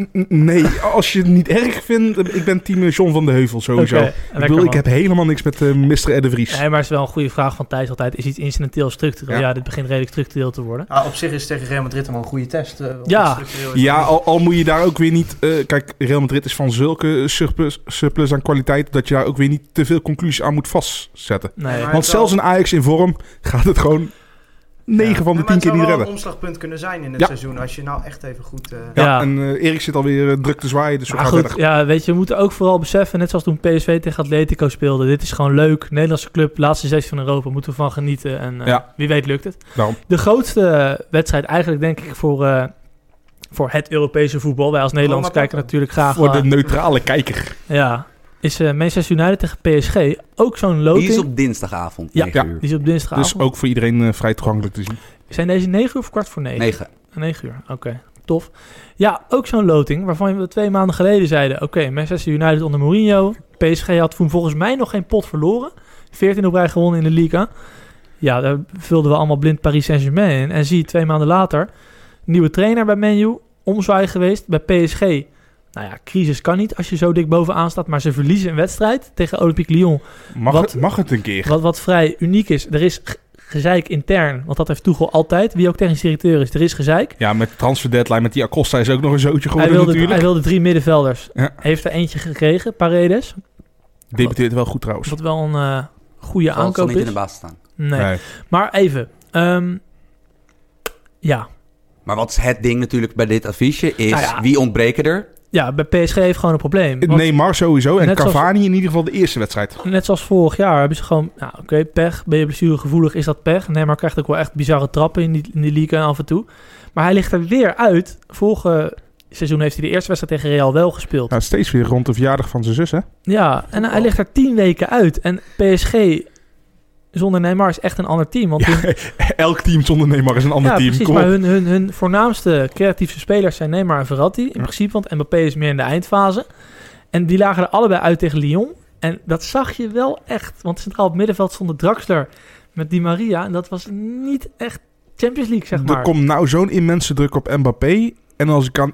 Speaker 3: N- n- nee, als je het niet erg vindt. eh, Ik ben team John van de Heuvel sowieso.
Speaker 1: Oké,
Speaker 3: ik
Speaker 1: lekker,
Speaker 3: bedoel, ik
Speaker 1: man.
Speaker 3: heb helemaal niks met eh, Mr. Ed de Vries.
Speaker 1: Nee, maar het is wel een goede vraag van Thijs altijd. Is iets incidenteel structureel?
Speaker 3: Ja.
Speaker 1: Ja, dit begint redelijk structureel te worden.
Speaker 2: Nou, op zich is tegen Real Madrid allemaal een goede test. eh, om
Speaker 1: Ja.
Speaker 2: het structureel even
Speaker 3: Ja, al, al moet je daar ook weer niet... eh, kijk, Real Madrid is van zulke surplus, surplus aan kwaliteit... dat je daar ook weer niet te veel conclusies aan moet vastzetten.
Speaker 1: Nee.
Speaker 2: Maar-
Speaker 3: Want
Speaker 2: het zal-
Speaker 3: zelfs een Ajax in vorm gaat het gewoon 9 van de
Speaker 2: Ja, maar
Speaker 3: 10 keer
Speaker 2: Het
Speaker 3: niet
Speaker 2: zou wel
Speaker 3: redden.
Speaker 2: een omslagpunt kunnen zijn in het
Speaker 3: Ja.
Speaker 2: seizoen als je nou echt even goed... eh,
Speaker 3: Ja,
Speaker 1: Ja.
Speaker 3: en eh, Erik zit alweer eh, druk te zwaaien, dus we
Speaker 1: Maar
Speaker 3: gaan
Speaker 1: goed,
Speaker 3: verder.
Speaker 1: ja, weet je, we moeten ook vooral beseffen, net zoals toen PSV tegen Atletico speelde. Dit is gewoon leuk. Nederlandse club, laatste zes van Europa, moeten we van genieten. En eh,
Speaker 3: Ja.
Speaker 1: wie weet lukt het.
Speaker 3: Daarom.
Speaker 1: De grootste eh, wedstrijd eigenlijk, denk ik, voor, eh, voor het Europese voetbal. Wij als Nederlanders
Speaker 2: Roma
Speaker 1: kijken
Speaker 2: Porto.
Speaker 1: natuurlijk graag.
Speaker 3: Voor
Speaker 1: eh,
Speaker 3: de neutrale kijker.
Speaker 1: ja, is eh, Manchester United tegen PSG ook zo'n loting?
Speaker 4: Die is op dinsdagavond,
Speaker 1: Ja.
Speaker 4: 9
Speaker 3: Ja.
Speaker 4: uur.
Speaker 1: Die is op dinsdagavond.
Speaker 3: Dus ook voor iedereen eh, vrij toegankelijk te zien.
Speaker 1: Zijn deze negen uur of kwart voor negen?
Speaker 4: 9.
Speaker 1: 9 uur, oké. Tof. Ja, ook zo'n loting waarvan we twee maanden geleden zeiden... oké, Manchester United onder Mourinho. PSG had toen volgens mij nog geen pot verloren. 14 op rij gewonnen in de Liga. Ja, daar vulden we allemaal blind Paris Saint-Germain in. En zie, twee maanden later... nieuwe trainer bij Menu, omzwaai geweest bij PSG. Nou ja, crisis kan niet als je zo dik bovenaan staat... maar ze verliezen een wedstrijd tegen Olympique Lyon...
Speaker 3: Mag,
Speaker 1: Wat-
Speaker 3: het, mag het een keer?
Speaker 1: wat, wat vrij uniek is. Er is g- gezeik intern. Want dat heeft Tuchel altijd. Wie ook technisch directeur is, er is gezeik.
Speaker 3: Ja, met transfer deadline, met die Acosta is ook nog een zootje
Speaker 1: Hij
Speaker 3: geworden
Speaker 1: wilde, hij
Speaker 3: natuurlijk.
Speaker 1: wilde drie middenvelders.
Speaker 3: Ja.
Speaker 1: Heeft er eentje gekregen, Paredes.
Speaker 3: Debuteert wel goed trouwens.
Speaker 1: Wat wel een eh, goede
Speaker 4: Zal- zal
Speaker 1: aankoop
Speaker 4: niet in de
Speaker 1: is.
Speaker 4: baas staan.
Speaker 1: Nee. Maar even. ehm, ja.
Speaker 4: Maar wat is het ding natuurlijk bij dit adviesje is,
Speaker 1: Nou ja.
Speaker 4: wie ontbreken er?
Speaker 1: ja, bij PSG heeft gewoon een probleem. Want
Speaker 3: Nee, maar sowieso. En
Speaker 1: Net zoals-
Speaker 3: Cavani in ieder geval de eerste wedstrijd.
Speaker 1: Net zoals vorig jaar hebben ze gewoon... Nou, oké, pech. Ben je blessuregevoelig, is dat pech. Nee, maar krijgt ook wel echt bizarre trappen in die, in die league af en toe. Maar hij ligt er weer uit. Vorige seizoen heeft hij de eerste wedstrijd tegen Real wel gespeeld.
Speaker 3: Nou, steeds weer rond de verjaardag van zijn zus, hè?
Speaker 1: Ja, en
Speaker 4: Oh.
Speaker 1: hij ligt er tien weken uit. En PSG zonder Neymar is echt een ander team. Want hun-
Speaker 3: Elk team zonder Neymar is een ander
Speaker 1: ja,
Speaker 3: team.
Speaker 1: precies.
Speaker 3: Kom
Speaker 1: Maar
Speaker 3: op.
Speaker 1: hun, hun, hun voornaamste creatieve spelers zijn Neymar en Verratti. In principe, want Mbappé is meer in de eindfase. En die lagen er allebei uit tegen Lyon. En dat zag je wel echt. Want centraal op middenveld stond de Draxler met Di Maria. En dat was niet echt Champions League, zeg maar.
Speaker 3: Er komt nou zo'n immense druk op Mbappé. En als ik aan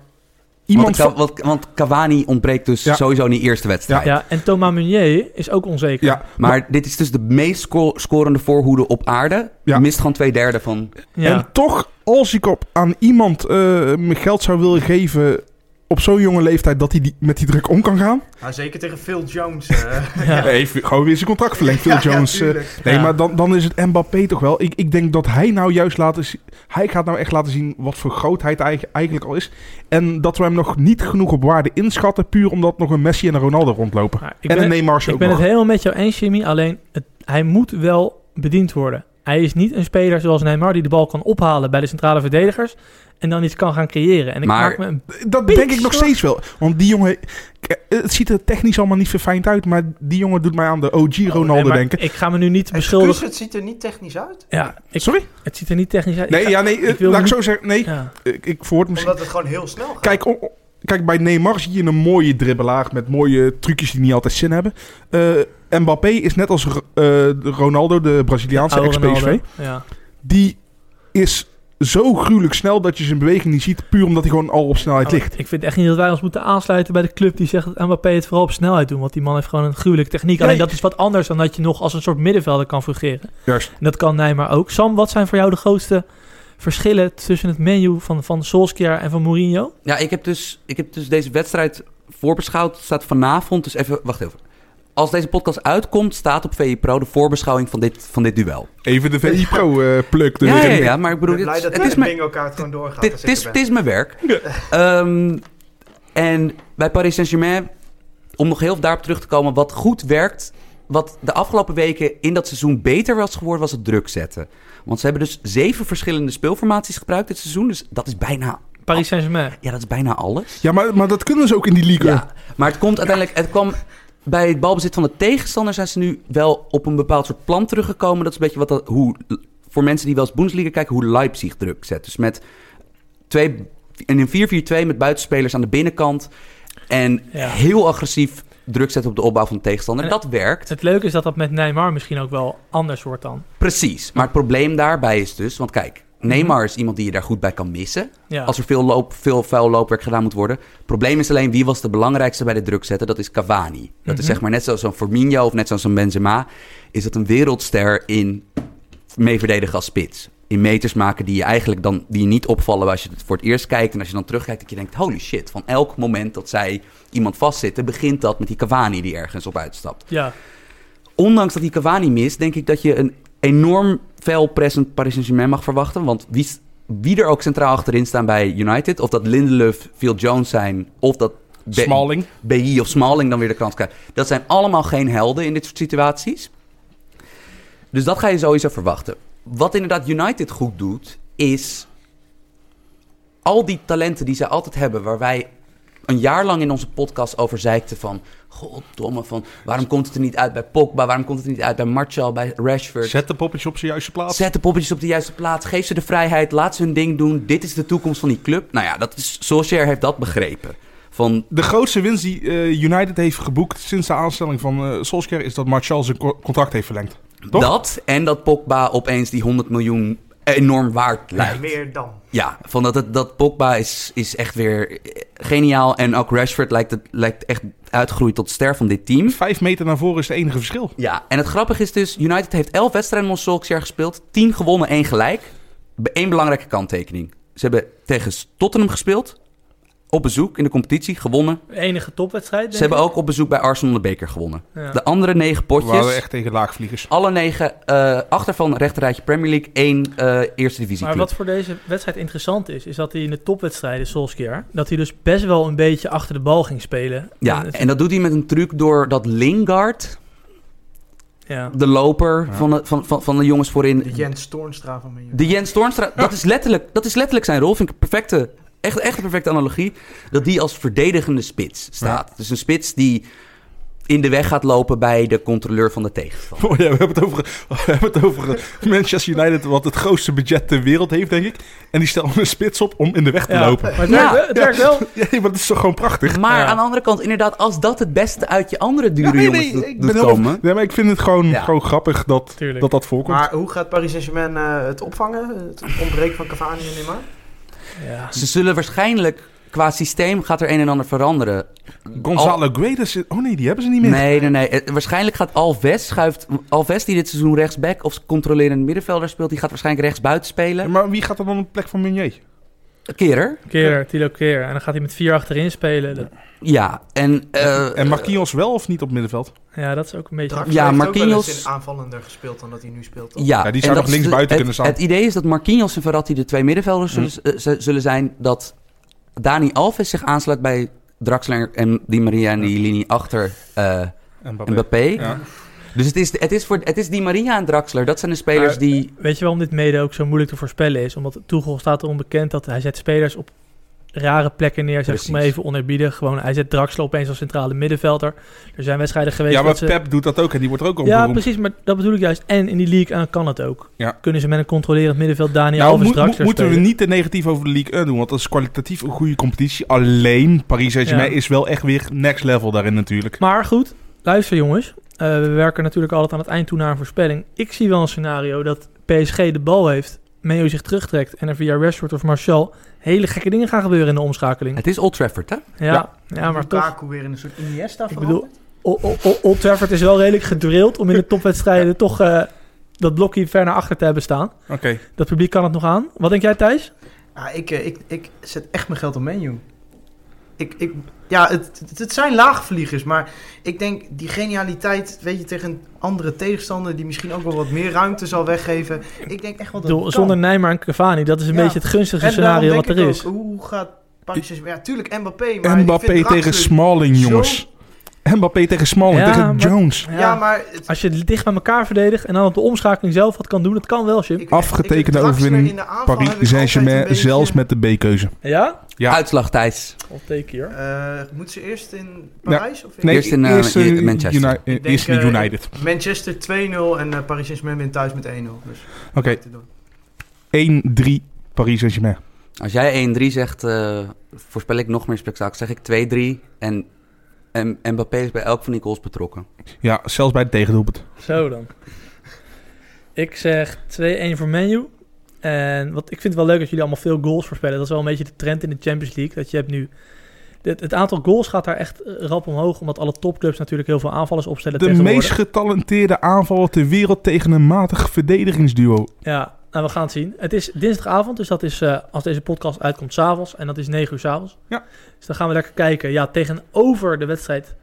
Speaker 3: iemand...
Speaker 4: want, Ka-
Speaker 3: van-
Speaker 4: want- want Cavani ontbreekt dus
Speaker 3: Ja.
Speaker 4: sowieso in die eerste wedstrijd.
Speaker 1: Ja, en Thomas Meunier is ook onzeker.
Speaker 3: Ja,
Speaker 4: Maar dit is dus de meest sco- scorende voorhoede op aarde.
Speaker 3: Ja.
Speaker 4: Mist gewoon twee derde van.
Speaker 1: Ja.
Speaker 3: En toch, als ik op aan iemand eh, mijn geld zou willen geven op zo'n jonge leeftijd dat hij die, met die druk om kan gaan.
Speaker 2: Nou, zeker tegen Phil Jones. eh.
Speaker 1: Ja.
Speaker 3: Nee, gewoon weer zijn contract verlengd, Phil
Speaker 2: Ja, ja,
Speaker 3: Jones. eh.
Speaker 2: tuurlijk.
Speaker 3: nee,
Speaker 1: Ja.
Speaker 3: maar dan, dan is het Mbappé toch wel. Ik, ik denk dat hij nou juist laten zien... Hij gaat nou echt laten zien wat voor grootheid hij eigen- eigenlijk al is. En dat we hem nog niet genoeg op waarde inschatten... puur omdat nog een Messi en een Ronaldo rondlopen.
Speaker 1: Maar ik
Speaker 3: en
Speaker 1: ben-
Speaker 3: een Neymar is
Speaker 1: Ik
Speaker 3: ook
Speaker 1: ben
Speaker 3: nog.
Speaker 1: het helemaal met jou eens, Jimmy. Alleen, het- hij moet wel bediend worden. Hij is niet een speler zoals Neymar die de bal kan ophalen bij de centrale verdedigers en dan iets kan gaan creëren. En ik
Speaker 4: Maar-
Speaker 1: maak me een-
Speaker 3: Dat
Speaker 1: Pieks,
Speaker 3: denk ik nog
Speaker 1: hoor.
Speaker 3: steeds wel. Want die jongen... k- Het ziet er technisch allemaal niet verfijnd uit... maar die jongen doet mij aan de OG Ronaldo
Speaker 1: Oh, Nee, maar
Speaker 3: denken.
Speaker 1: Ik ga me nu niet
Speaker 2: Excuus,
Speaker 1: beschuldigen.
Speaker 2: het ziet er niet technisch uit.
Speaker 1: Ja, ik,
Speaker 3: Sorry?
Speaker 1: het ziet er niet technisch uit. Ik
Speaker 3: Nee,
Speaker 1: ga-
Speaker 3: ja, nee, eh,
Speaker 1: ik wil
Speaker 3: laat ik
Speaker 1: niet-
Speaker 3: zo zeggen. Nee,
Speaker 1: ja.
Speaker 3: ik, ik verwoord misschien.
Speaker 2: Omdat het gewoon heel snel gaat.
Speaker 3: Kijk, o- o- kijk, bij Neymar zie je een mooie dribbelaar met mooie trucjes die niet altijd zin hebben. Eh, Mbappé is net als Ro- eh, de Ronaldo, de Braziliaanse
Speaker 1: Oude Oh,
Speaker 3: ex-PSV.
Speaker 1: Ronaldo. Ja.
Speaker 3: Die is zo gruwelijk snel dat je zijn beweging niet ziet, puur omdat hij gewoon al op snelheid ligt.
Speaker 1: Oh, Ik vind echt niet dat wij ons moeten aansluiten bij de club die zegt dat Mbappé het vooral op snelheid doet. Want die man heeft gewoon een gruwelijke techniek. Alleen
Speaker 3: Nee.
Speaker 1: dat is wat anders dan dat je nog als een soort middenvelder kan fungeren.
Speaker 3: Juist.
Speaker 1: En dat kan Neymar ook. Sam, wat zijn voor jou de grootste verschillen tussen het menu van, van Solskjaer en van Mourinho?
Speaker 4: Ja, ik heb, dus, ik heb dus deze wedstrijd voorbeschouwd. Het staat vanavond, dus even, wacht even. Als deze podcast uitkomt, staat op VE Pro de voorbeschouwing van dit, van dit duel.
Speaker 3: Even de VI Pro eh, pluk.
Speaker 4: Ja,
Speaker 3: erin.
Speaker 4: ja, ja, maar ik
Speaker 2: Ik ben
Speaker 4: bedoel,
Speaker 2: blij
Speaker 4: het,
Speaker 2: dat
Speaker 4: het is
Speaker 2: de
Speaker 4: mijn,
Speaker 2: bingo-kaart gewoon doorgaat.
Speaker 4: dit,
Speaker 2: als
Speaker 4: dit
Speaker 2: ik
Speaker 4: is,
Speaker 2: er
Speaker 4: dit
Speaker 2: ben.
Speaker 4: is mijn werk. Ehm, en bij Paris Saint-Germain, om nog heel veel daarop terug te komen, wat goed werkt, wat de afgelopen weken in dat seizoen beter was geworden, was het druk zetten. Want ze hebben dus zeven verschillende speelformaties gebruikt dit seizoen, dus dat is bijna,
Speaker 1: Paris Saint-Germain.
Speaker 4: ja, dat is bijna alles.
Speaker 3: Ja, maar, maar dat kunnen ze ook in die league.
Speaker 4: Ja, maar het komt uiteindelijk, het kwam bij het balbezit van de tegenstander zijn ze nu wel op een bepaald soort plan teruggekomen. Dat is een beetje wat dat, hoe, voor mensen die wel eens Bundesliga kijken, hoe Leipzig druk zet. Dus met twee, en een 4-4-2 met buitenspelers aan de binnenkant en
Speaker 1: Ja.
Speaker 4: heel agressief druk zetten op de opbouw van de tegenstander.
Speaker 1: En-
Speaker 4: dat werkt,
Speaker 1: Het leuke is dat dat met Neymar misschien ook wel anders wordt dan.
Speaker 4: precies. Maar het probleem daarbij is dus, want kijk, Neymar is iemand die je daar goed bij kan missen.
Speaker 1: Ja.
Speaker 4: Als er veel, loop, veel vuil loopwerk gedaan moet worden. Het probleem is alleen wie was de belangrijkste bij de druk zetten. Dat is Cavani. Dat is zeg maar net zoals zo'n Firmino of net zoals zo'n Benzema. Is dat een wereldster in mee verdedigen als spits. In meters maken die je eigenlijk dan die je niet opvallen als je het voor het eerst kijkt. En als je dan terugkijkt dat je denkt, holy shit. Van elk moment dat zij iemand vastzitten, begint dat met die Cavani die ergens op uitstapt
Speaker 1: Ja,
Speaker 4: ondanks dat die Cavani mist, denk ik dat je een enorm fel present Paris Saint-Germain mag verwachten. Want wie, wie er ook centraal achterin staan bij United, of dat Lindelöf, Phil Jones zijn, of dat Be-
Speaker 3: Eh, Smalling.
Speaker 4: BI of Smalling dan weer de kans krijgt. Dat zijn allemaal geen helden in dit soort situaties. Dus dat ga je sowieso verwachten. Wat inderdaad United goed doet, is al die talenten die zij altijd hebben, waar wij een jaar lang in onze podcast over zeikten van... Goddomme, van waarom komt het er niet uit bij Pogba? Waarom komt het er niet uit bij Martial, bij Rashford?
Speaker 3: Zet de poppetjes op zijn juiste plaats.
Speaker 4: Zet de poppetjes op de juiste plaats. Geef ze de vrijheid. Laat ze hun ding doen. Dit is de toekomst van die club. Nou ja, dat is, Solskjaer heeft dat begrepen. Van
Speaker 3: De grootste winst die eh, United heeft geboekt sinds de aanstelling van eh, Solskjaer... is dat Martial zijn co- contract heeft verlengd. Toch?
Speaker 4: dat en dat Pogba opeens die 100 miljoen enorm waard lijkt.
Speaker 2: Meer dan.
Speaker 4: Ja, van dat, het, dat Pogba is, is echt weer eh, geniaal. En ook Rashford lijkt, het, lijkt echt uitgegroeid tot ster van dit team.
Speaker 3: Vijf meter naar voren is het enige verschil.
Speaker 4: Ja, en het grappige is dus... United heeft elf wedstrijden onder Solskjaer gespeeld. Tien gewonnen, één gelijk. Be- één belangrijke kanttekening. Ze hebben tegen Tottenham gespeeld. Op bezoek in de competitie, gewonnen.
Speaker 1: De enige topwedstrijd.
Speaker 4: Ze hebben ook op bezoek bij Arsenal de beker gewonnen.
Speaker 1: Ja.
Speaker 4: De andere negen
Speaker 3: We waren
Speaker 4: potjes...
Speaker 3: echt tegen laagvliegers.
Speaker 4: Alle negen eh achter van rechterrijtje Premier League, één eh, eerste divisie
Speaker 1: Maar
Speaker 4: club.
Speaker 1: wat voor deze wedstrijd interessant is, is dat hij in de topwedstrijden, Solskjaer, dat hij dus best wel een beetje achter de bal ging spelen.
Speaker 4: Ja,
Speaker 1: het-
Speaker 4: en dat doet hij met een truc door dat Lingard,
Speaker 1: ja.
Speaker 4: de loper
Speaker 3: Ja.
Speaker 4: van, de, van, van, van de jongens voorin.
Speaker 2: De Jens Toornstra van mijn
Speaker 4: De Jens Toornstra, dat, is letterlijk, dat is letterlijk zijn rol. Vind ik een perfecte, echt, echt een perfecte analogie. Dat die als verdedigende spits staat. Dus een spits die in de weg gaat lopen bij de controleur van de tegenstander.
Speaker 3: Oh ja, we hebben het over, we hebben het over eh, Manchester United, wat het grootste budget ter wereld heeft, denk ik. En die stellen een spits op om in de weg te
Speaker 1: Ja,
Speaker 3: lopen.
Speaker 1: Maar het,
Speaker 4: Ja.
Speaker 1: werkt, wel- het werkt wel.
Speaker 3: Ja, maar dat is toch gewoon prachtig?
Speaker 4: Maar
Speaker 1: Ja.
Speaker 4: aan de andere kant, inderdaad, als dat het beste uit je andere dure
Speaker 3: nee,
Speaker 4: jongens
Speaker 3: nee,
Speaker 4: doet-
Speaker 3: ik
Speaker 4: doet
Speaker 3: ben heel-
Speaker 4: komen.
Speaker 3: Nee, maar ik vind het gewoon,
Speaker 4: Ja.
Speaker 3: gewoon grappig dat
Speaker 1: Tuurlijk.
Speaker 3: dat, dat voorkomt.
Speaker 2: Maar hoe gaat Paris Saint-Germain eh, het opvangen? Het ontbreken van Cavani en Neymar?
Speaker 1: Ja.
Speaker 4: Ze zullen waarschijnlijk, qua systeem gaat er een en ander veranderen.
Speaker 3: Gonzalo Guedes, is- oh nee, die hebben ze niet meer.
Speaker 4: Nee, nee, nee. Eh, Waarschijnlijk gaat Alves schuift. Alves die dit seizoen rechtsback of controlerend middenvelder speelt, die gaat waarschijnlijk rechtsbuiten
Speaker 3: Ja,
Speaker 4: spelen.
Speaker 3: Maar wie gaat er dan op de plek van Meunier?
Speaker 4: Kerer.
Speaker 1: Keer, Tilo Keer. En dan gaat hij met vier achterin spelen. Dat-
Speaker 4: Ja. En, eh,
Speaker 3: en Marquinhos wel of niet op middenveld?
Speaker 1: ja, dat is ook een beetje...
Speaker 2: Draxler
Speaker 4: Ja,
Speaker 2: heeft ook wel
Speaker 4: Marquinhos-
Speaker 2: eens in aanvallender gespeeld dan dat hij nu speelt. toch?
Speaker 4: Ja,
Speaker 3: Ja, die
Speaker 4: en
Speaker 3: zou nog
Speaker 4: dat is
Speaker 3: links buiten
Speaker 4: het-
Speaker 3: kunnen staan.
Speaker 4: Het idee is dat Marquinhos en Verratti de twee middenvelders
Speaker 3: Mm.
Speaker 4: zullen, eh, z- zullen zijn. Dat Dani Alves zich aansluit bij Draxler en Di Maria en die linie achter eh
Speaker 3: En Mbappé.
Speaker 4: Mbappé.
Speaker 3: Ja.
Speaker 4: Dus het is, het, is voor, het is Di Maria en Draxler. Dat zijn de spelers
Speaker 1: Maar-
Speaker 4: die...
Speaker 1: Weet je waarom dit mede ook zo moeilijk te voorspellen is? Omdat Tuchel staat er onbekend dat hij zet spelers op rare plekken neer. Zeg ik
Speaker 4: Precies.
Speaker 1: maar even onerbiedig. Gewoon, hij zet Draxler opeens als centrale middenvelder. Er zijn wedstrijden geweest
Speaker 3: Ja, maar
Speaker 1: dat ze...
Speaker 3: Pep doet dat ook en die wordt er ook om
Speaker 1: Ja,
Speaker 3: beroemd.
Speaker 1: precies, maar dat bedoel ik juist. En in die league eh, kan het ook.
Speaker 3: Ja.
Speaker 1: Kunnen ze met een controlerend middenveld Daniel
Speaker 3: Nou,
Speaker 1: Alves
Speaker 3: moet-
Speaker 1: Draxler
Speaker 3: moet- moeten we
Speaker 1: spelen.
Speaker 3: niet te negatief over de League 1 doen, want dat is kwalitatief een goede competitie. Alleen Paris Saint-Germain
Speaker 1: Ja.
Speaker 3: is wel echt weer next level daarin natuurlijk.
Speaker 1: Maar goed, luister jongens. Eh, we werken natuurlijk altijd aan het eind toe naar een voorspelling. Ik zie wel een scenario dat PSG de bal heeft, Meo zich terugtrekt en er via Rashford of Martial hele gekke dingen gaan gebeuren in de omschakeling.
Speaker 4: Het is Old Trafford, hè?
Speaker 1: Ja, ja, maar toch.
Speaker 2: Lukaku weer in een soort Iniesta
Speaker 1: Ik
Speaker 2: van.
Speaker 1: bedoel, O- o- o- Old Trafford is wel redelijk gedrild om in de topwedstrijden toch eh, dat blokje ver naar achter te hebben staan.
Speaker 3: Oké.
Speaker 1: Dat publiek kan het nog aan. Wat denk jij Thijs?
Speaker 2: Ja, ik, eh, ik, ik zet echt mijn geld op menu. Ik, ik, ja, het, het- het zijn laagvliegers, maar ik denk die genialiteit, weet je, tegen een andere tegenstander die misschien ook wel wat meer ruimte zal weggeven. Ik denk echt wel dat
Speaker 1: Ik bedoel,
Speaker 2: het kan.
Speaker 1: zonder Neymar en Cavani, dat is een
Speaker 2: Ja.
Speaker 1: beetje het gunstigste
Speaker 2: En daarom
Speaker 1: scenario
Speaker 2: denk
Speaker 1: wat er
Speaker 2: ik
Speaker 1: is.
Speaker 2: ook, Hoe gaat Paris Saint-Germain? Ja, tuurlijk Mbappé, maar ik
Speaker 3: Mbappé
Speaker 2: vind dus-
Speaker 3: tegen
Speaker 2: Draxler-
Speaker 3: Smalling,
Speaker 2: zo-
Speaker 3: jongens. Mbappé tegen Smalling,
Speaker 1: Ja,
Speaker 3: tegen
Speaker 1: maar-
Speaker 3: Jones.
Speaker 2: Ja,
Speaker 1: Ja.
Speaker 2: maar... het-
Speaker 1: Als je het dicht bij elkaar verdedigt en dan op de omschakeling zelf wat kan doen, dat kan wel, Jim.
Speaker 2: ik-
Speaker 3: Afgetekende
Speaker 2: ik heb Draxler
Speaker 3: overwinning,
Speaker 2: in de aanval,
Speaker 3: Paris
Speaker 2: heb ik
Speaker 3: Saint-Germain,
Speaker 2: altijd een beetje-
Speaker 3: zelfs met de B-keuze.
Speaker 1: Ja?
Speaker 3: Ja.
Speaker 4: Uitslag, Thijs.
Speaker 1: Al teken hier.
Speaker 2: Eh, moet ze eerst in Parijs? of in
Speaker 4: Nee. Eerst in, eh,
Speaker 3: eh,
Speaker 4: Manchester.
Speaker 3: Uni- eh,
Speaker 2: Ik denk,
Speaker 3: eerst in
Speaker 2: eh,
Speaker 3: United.
Speaker 2: Manchester 2-0 en eh, Paris Saint-Germain wint thuis met 1-0. Dus
Speaker 3: Oké,
Speaker 2: te doen.
Speaker 3: 1-3 Paris Saint-Germain.
Speaker 4: Als jij 1-3 zegt, eh, voorspel ik nog meer spektakel. Zeg ik 2-3 en, en Mbappé is bij elk van die goals betrokken.
Speaker 3: Ja, zelfs bij de tegendoelpunt.
Speaker 1: Zo dan. Ik zeg 2-1 voor Menu. En wat, ik vind het wel leuk dat jullie allemaal veel goals voorspellen. Dat is wel een beetje de trend in de Champions League. Dat je hebt nu... Het, het aantal goals gaat daar echt eh, rap omhoog. Omdat alle topclubs natuurlijk heel veel aanvallers opstellen
Speaker 3: De
Speaker 1: tegenwoordig.
Speaker 3: meest getalenteerde aanvaller ter wereld tegen een matig verdedigingsduo.
Speaker 1: Ja, nou, we gaan het zien. Het is dinsdagavond, dus dat is eh, als deze podcast uitkomt s'avonds. En dat is 9 uur s'avonds.
Speaker 3: Ja.
Speaker 1: Dus dan gaan we lekker kijken. Ja, tegenover de wedstrijd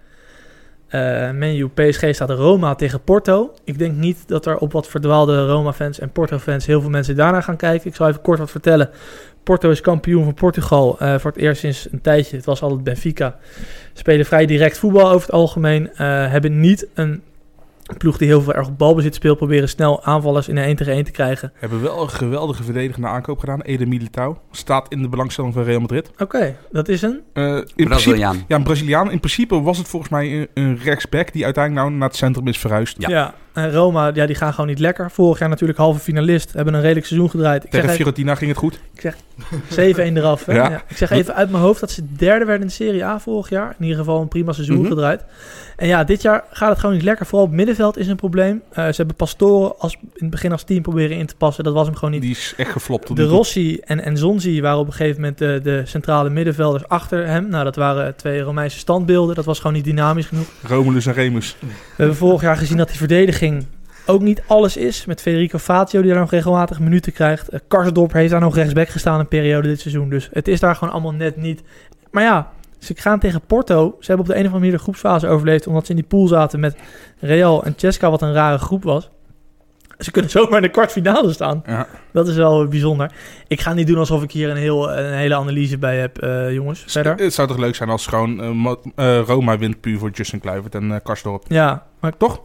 Speaker 1: eh Menu PSG staat Roma tegen Porto. Ik denk niet dat er op wat verdwaalde Roma-fans en Porto-fans heel veel mensen daarna gaan kijken. Ik zal even kort wat vertellen. Porto is kampioen van Portugal eh, voor het eerst sinds een tijdje. Het was altijd Benfica. Spelen vrij direct voetbal over het algemeen. eh, hebben niet een ploeg die heel veel erg op balbezit speelt. Proberen snel aanvallers in een 1 tegen 1 te krijgen.
Speaker 3: Hebben wel een geweldige verdedigende aankoop gedaan. Ede Militao staat in de belangstelling van Real Madrid.
Speaker 1: Oké, dat is een.
Speaker 3: Eh, in principe,
Speaker 4: Braziliaan.
Speaker 3: ja, een Braziliaan. In principe was het volgens mij een, een rechtsback die uiteindelijk nou naar het centrum is verhuisd.
Speaker 4: Ja.
Speaker 1: En Roma, ja, die gaan gewoon niet lekker. Vorig jaar natuurlijk halve finalist. Hebben een redelijk seizoen gedraaid. Ik zeg,
Speaker 3: Tegen
Speaker 1: even,
Speaker 3: Fiorentina ging het goed.
Speaker 1: ik zeg 7-1 eraf. Hè?
Speaker 3: Ja.
Speaker 1: Ja. Ik zeg even uit mijn hoofd dat ze derde werden in de Serie A vorig jaar. In ieder geval een prima seizoen
Speaker 4: Mhm.
Speaker 1: gedraaid. En ja, dit jaar gaat het gewoon niet lekker. Vooral op het middenveld middenveld is een probleem. Eh, ze hebben Pastoren als, in het begin als team proberen in te passen. Dat was hem gewoon niet.
Speaker 3: Die is echt geflopt. tot
Speaker 1: De
Speaker 3: nu toe.
Speaker 1: Rossi en, en Zonzi waren op een gegeven moment de, de centrale middenvelders achter hem. Nou, dat waren twee Romeinse standbeelden. Dat was gewoon niet dynamisch genoeg.
Speaker 3: Romulus en Remus.
Speaker 1: We hebben vorig jaar gezien dat die verdediging ook niet alles is. Met Federico Fazio die daar nog regelmatig minuten krijgt. Eh, Karsdorp heeft daar nog rechtsback gestaan een periode dit seizoen. Dus het is daar gewoon allemaal net niet. Maar ja, ze gaan tegen Porto. Ze hebben op de een of andere manier de groepsfase overleefd. Omdat ze in die pool zaten met Real en Cesca, wat een rare groep was. Ze kunnen zomaar in de kwartfinale staan.
Speaker 3: Ja.
Speaker 1: Dat is wel bijzonder. Ik ga niet doen alsof ik hier een, heel, een hele analyse bij heb, eh, jongens. Verder.
Speaker 3: Het zou toch leuk zijn als gewoon eh, Ma- eh, Roma wint puur voor Justin Kluivert en eh Karsdorp.
Speaker 1: Ja, maar
Speaker 3: Toch?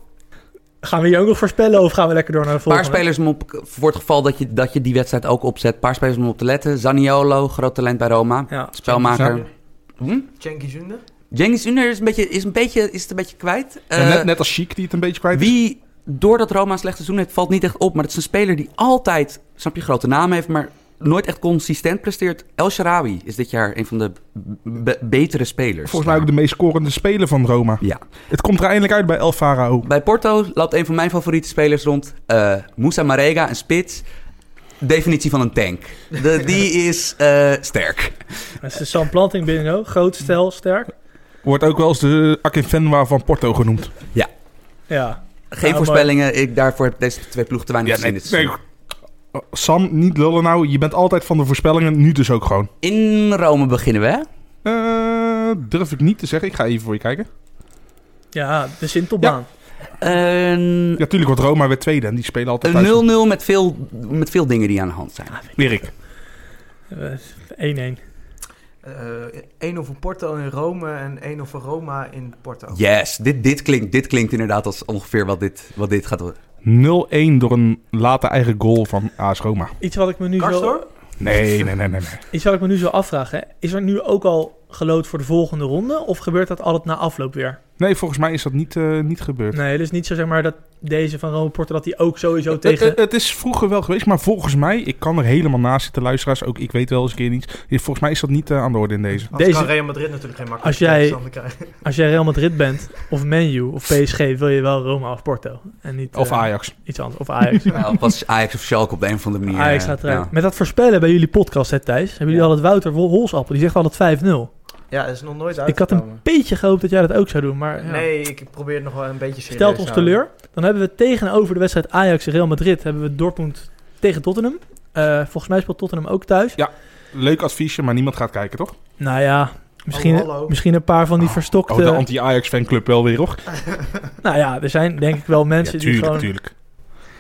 Speaker 1: gaan we hier ook nog voorspellen of gaan we lekker door naar de
Speaker 4: Een paar
Speaker 1: volgende?
Speaker 4: spelers om op, voor het geval dat je, dat je die wedstrijd ook opzet. Een paar spelers om op te letten. Zaniolo, groot talent bij Roma.
Speaker 1: Ja.
Speaker 4: Spelmaker. Hm?
Speaker 2: Cenki Junder.
Speaker 4: Jengis Under is, een beetje, is, een beetje, is het een beetje kwijt.
Speaker 3: Ja,
Speaker 4: Eh,
Speaker 3: net, net als Chic die het een beetje kwijt is.
Speaker 4: Wie, doordat Roma een slecht seizoen heeft, valt niet echt op. Maar het is een speler die altijd, snap je, grote naam heeft, maar nooit echt consistent presteert. El Sharawi is dit jaar een van de b- b- betere spelers.
Speaker 3: Volgens mij ook de meest scorende speler van Roma.
Speaker 4: Ja.
Speaker 3: Het komt er eindelijk uit bij El Farao.
Speaker 4: Bij Porto loopt een van mijn favoriete spelers rond. eh Moussa Marega, een spits. Definitie van een tank. De, die is eh, sterk.
Speaker 1: Dat is de Sam Planting binnen ook. Groot, stijl, sterk.
Speaker 3: Wordt ook wel eens de Akinfenwa van Porto genoemd.
Speaker 1: Ja.
Speaker 4: Geen
Speaker 3: Nou,
Speaker 1: Ja,
Speaker 4: voorspellingen. Ik, daarvoor heb ik deze twee ploegen te weinig gezien dit seizoen.
Speaker 3: nee. Sam, niet lullen nou. Je bent altijd van de voorspellingen. Nu dus ook gewoon.
Speaker 4: In Rome beginnen we. hè?
Speaker 3: Eh, durf ik niet te zeggen. Ik ga even voor je kijken.
Speaker 4: Eh.
Speaker 1: Ja, de Sintelbaan.
Speaker 4: Een
Speaker 3: Ja, tuurlijk wordt Roma weer tweede. En die spelen altijd thuis.
Speaker 4: een 0-0 met veel, met veel dingen die aan de hand zijn.
Speaker 3: Weer ik.
Speaker 1: Eh, 1-1.
Speaker 2: Eh 1-0 voor Porto in Rome en 1-0 voor Roma in Porto.
Speaker 4: Yes, dit, dit, klinkt, dit klinkt inderdaad als ongeveer wat dit, wat dit gaat worden.
Speaker 3: 0-1 door een late eigen goal van AS Roma.
Speaker 1: Iets wat, ik me nu zo,
Speaker 2: Karsdorp?
Speaker 3: Nee, nee, nee, nee. nee.
Speaker 1: iets wat ik me nu zo afvraag, hè. is er nu ook al gelood voor de volgende ronde? Of gebeurt dat altijd na afloop weer?
Speaker 3: Nee, volgens mij is dat niet, eh, niet gebeurd.
Speaker 1: Nee, dus niet zo zeg maar dat deze van Rome Porto, dat die ook sowieso
Speaker 4: Eh,
Speaker 3: Het-
Speaker 1: tegen...
Speaker 3: Het, het is vroeger wel geweest, maar volgens mij, ik kan er helemaal naast zitten, luisteraars. Ook ik weet wel eens een keer niets. Volgens mij is dat niet eh, aan de orde in deze.
Speaker 2: Anders
Speaker 1: Deze-
Speaker 2: kan Real Madrid natuurlijk geen
Speaker 1: Als
Speaker 2: makkelijke
Speaker 1: jij-
Speaker 2: tegenstander krijgen.
Speaker 1: Als jij Real Madrid bent, of Menu, of PSG, wil je wel Roma of Porto. En niet
Speaker 3: Of
Speaker 1: eh,
Speaker 3: Ajax.
Speaker 1: iets anders. Of Ajax.
Speaker 4: Nou, was Ajax of Schalke op de een of andere manier.
Speaker 1: Ajax
Speaker 4: eh,
Speaker 1: gaat eruit.
Speaker 4: ja.
Speaker 1: Met dat voorspellen bij jullie podcast, hè, Thijs, hebben jullie
Speaker 4: Ja.
Speaker 1: altijd Wouter Wol- Holsappel. Die zegt altijd 5-0.
Speaker 2: Ja, dat is nog nooit
Speaker 1: Ik had een
Speaker 2: uitgekomen.
Speaker 1: beetje gehoopt dat jij dat ook zou doen, maar... ja.
Speaker 2: Nee, ik probeer het nog wel een beetje serieus
Speaker 1: Stelt ons
Speaker 2: te houden.
Speaker 3: nou,
Speaker 1: teleur. Dan hebben we tegenover de wedstrijd Ajax en Real Madrid hebben we Dortmund tegen Tottenham. Eh, volgens mij speelt Tottenham ook thuis.
Speaker 3: Leuk adviesje, maar niemand gaat kijken, toch?
Speaker 1: Nou ja, misschien,
Speaker 2: Oh, hallo.
Speaker 1: misschien een paar van die
Speaker 3: Oh,
Speaker 1: verstokte.
Speaker 3: de anti-Ajax fanclub wel weer, hoor.
Speaker 1: nou ja, er zijn denk ik wel
Speaker 3: Ja,
Speaker 1: mensen die
Speaker 3: tuurlijk,
Speaker 1: gewoon.
Speaker 3: tuurlijk.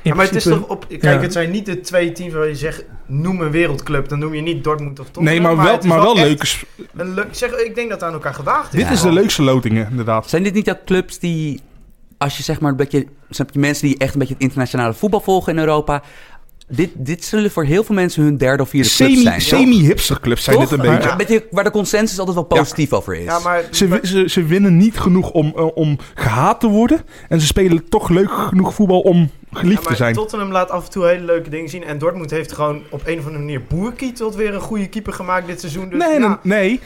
Speaker 1: in
Speaker 2: Ja, maar het is
Speaker 1: principe-
Speaker 2: toch op... Kijk,
Speaker 1: Ja.
Speaker 2: het zijn niet de twee teams waar je zegt... noem een wereldclub. Dan noem je niet Dortmund of Tottenham.
Speaker 3: Nee, maar wel,
Speaker 2: het is
Speaker 3: maar wel
Speaker 2: echt
Speaker 3: leuke s-
Speaker 2: een leuk- zeg, ik denk dat het aan elkaar gewaagd is.
Speaker 3: Dit is de leukste lotingen, inderdaad.
Speaker 4: Zijn dit niet ook clubs die, als je zeg maar een beetje, snap je, mensen die echt een beetje het internationale voetbal volgen in Europa, dit, dit zullen voor heel veel mensen hun derde of vierde club
Speaker 3: Semi-
Speaker 4: zijn.
Speaker 3: Semi-hipsterclubs zijn
Speaker 4: Toch?
Speaker 3: dit een beetje.
Speaker 4: Een beetje waar de consensus altijd wel positief over is.
Speaker 2: Ja, maar...
Speaker 3: Ze, wi- ze, ze winnen niet genoeg om, eh, om gehaat te worden. En ze spelen toch leuk genoeg voetbal om
Speaker 2: Ja,
Speaker 3: geliefd te
Speaker 2: maar
Speaker 3: zijn.
Speaker 2: Tottenham laat af en toe hele leuke dingen zien. En Dortmund heeft gewoon op een of andere manier Boerkietelt weer een goede keeper gemaakt dit seizoen. Dus
Speaker 3: Nee,
Speaker 2: ja,
Speaker 3: nee, nee.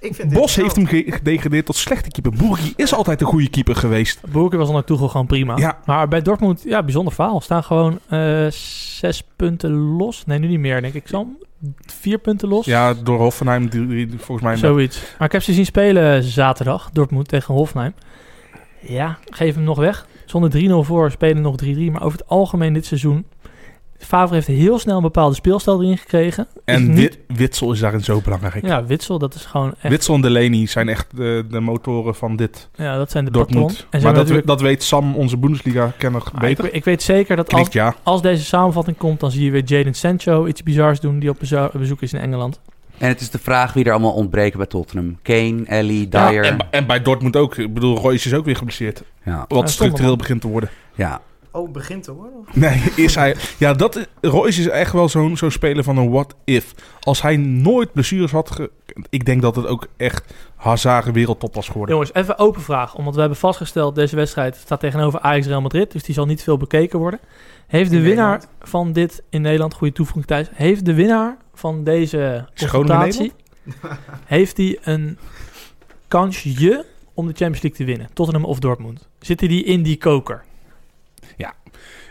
Speaker 2: ik vind dit
Speaker 3: Bos
Speaker 2: wel.
Speaker 3: heeft hem ge- gedegradeerd tot slechte keeper. Boerki is altijd een goede keeper geweest.
Speaker 1: Boerke was dan ook Tuchel gewoon prima.
Speaker 3: Ja.
Speaker 1: Maar bij Dortmund, ja, bijzonder faal. Staan gewoon eh, zes punten los. Nee, nu niet meer, denk ik. Sam, vier punten los.
Speaker 3: Ja, door Hoffenheim die- die- die- volgens mij.
Speaker 1: Zoiets. Maar ik heb ze zien spelen zaterdag. Dortmund tegen Hoffenheim. Ja, geef hem nog weg. Zonder 3-0 voor spelen nog 3-3. Maar over het algemeen dit seizoen... Favre heeft heel snel een bepaalde speelstijl erin gekregen.
Speaker 3: En
Speaker 1: Is niet-
Speaker 3: Wi- Witsel is daarin zo belangrijk.
Speaker 1: Ja, Witsel, dat is gewoon echt...
Speaker 3: Witsel en Delaney zijn echt de, de motoren van dit
Speaker 1: ja, dat zijn de patronen. En ze
Speaker 3: Dortmund. Maar
Speaker 1: hebben
Speaker 3: dat,
Speaker 1: natuurlijk-
Speaker 3: dat weet Sam, onze Bundesliga-kenner,
Speaker 1: Maar
Speaker 3: beter.
Speaker 1: Ik, ik weet zeker dat als,
Speaker 3: Knikt ja.
Speaker 1: als deze samenvatting komt... dan zie je weer Jadon Sancho iets bizars doen... die op bezo- bezoek is in Engeland.
Speaker 4: En het is de vraag wie er allemaal ontbreken bij Tottenham. Kane, Ellie,
Speaker 3: Ja,
Speaker 4: Dyer. Ja,
Speaker 3: en, bij- en bij Dortmund ook. Ik bedoel, Royce is ook weer geblesseerd.
Speaker 4: ja.
Speaker 3: Wat
Speaker 1: Ja,
Speaker 3: structureel
Speaker 1: Sommerman.
Speaker 3: begint te worden.
Speaker 2: Oh, begint te worden.
Speaker 3: Nee, is hij... Ja, dat, is- Royce is echt wel zo'n zo'n speler van een what if. Als hij nooit blessures had... Ge, ik denk dat het ook echt Hazard een wereldtop was geworden.
Speaker 1: Jongens, even open vraag. Omdat we hebben vastgesteld... deze wedstrijd staat tegenover Ajax-Real Madrid... dus die zal niet veel bekeken worden. Heeft de
Speaker 2: In
Speaker 1: winnaar
Speaker 2: Nederland.
Speaker 1: van dit in Nederland... goede toevoeging thuis... heeft de winnaar van deze
Speaker 3: Is Groningen
Speaker 1: confrontatie... heeft hij een kansje om de Champions League te winnen? Tottenham of Dortmund? Zitten die in die koker?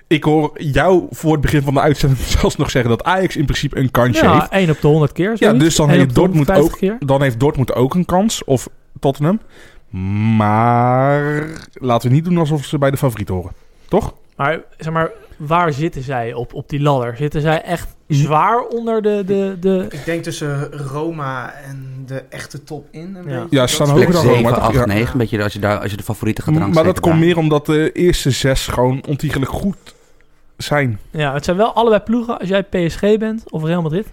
Speaker 3: Ik hoor jou voor het begin van de uitzending zelfs nog zeggen dat Ajax in principe een kansje heeft.
Speaker 1: Ja, 1 op de 100 keer. zoiets.
Speaker 3: dus dan
Speaker 1: Eén
Speaker 3: heeft
Speaker 1: op de
Speaker 3: Dortmund
Speaker 1: 150 Keer.
Speaker 3: Dan heeft Dortmund ook een kans, of Tottenham. Maar laten we niet doen alsof ze bij de favoriet horen. Toch?
Speaker 1: Maar, zeg maar waar zitten zij op, op die ladder? Zitten zij echt zwaar onder de... de, de...
Speaker 2: Ik denk tussen Roma en de echte top in. Een
Speaker 1: Ja.
Speaker 2: beetje.
Speaker 3: Ja,
Speaker 2: Dat
Speaker 3: ze staan
Speaker 2: is-
Speaker 3: hoger
Speaker 4: Plek
Speaker 3: dan
Speaker 4: 7,
Speaker 3: Roma, toch?
Speaker 4: 8,
Speaker 3: Ja.
Speaker 4: 9. Een beetje als je, daar, als je de favorieten gaat
Speaker 3: Maar
Speaker 4: rangsteken.
Speaker 3: dat komt
Speaker 4: daar.
Speaker 3: meer omdat de eerste zes gewoon ontiegelijk goed zijn.
Speaker 1: Ja, het zijn wel allebei ploegen. Als jij PSG bent of Real Madrid,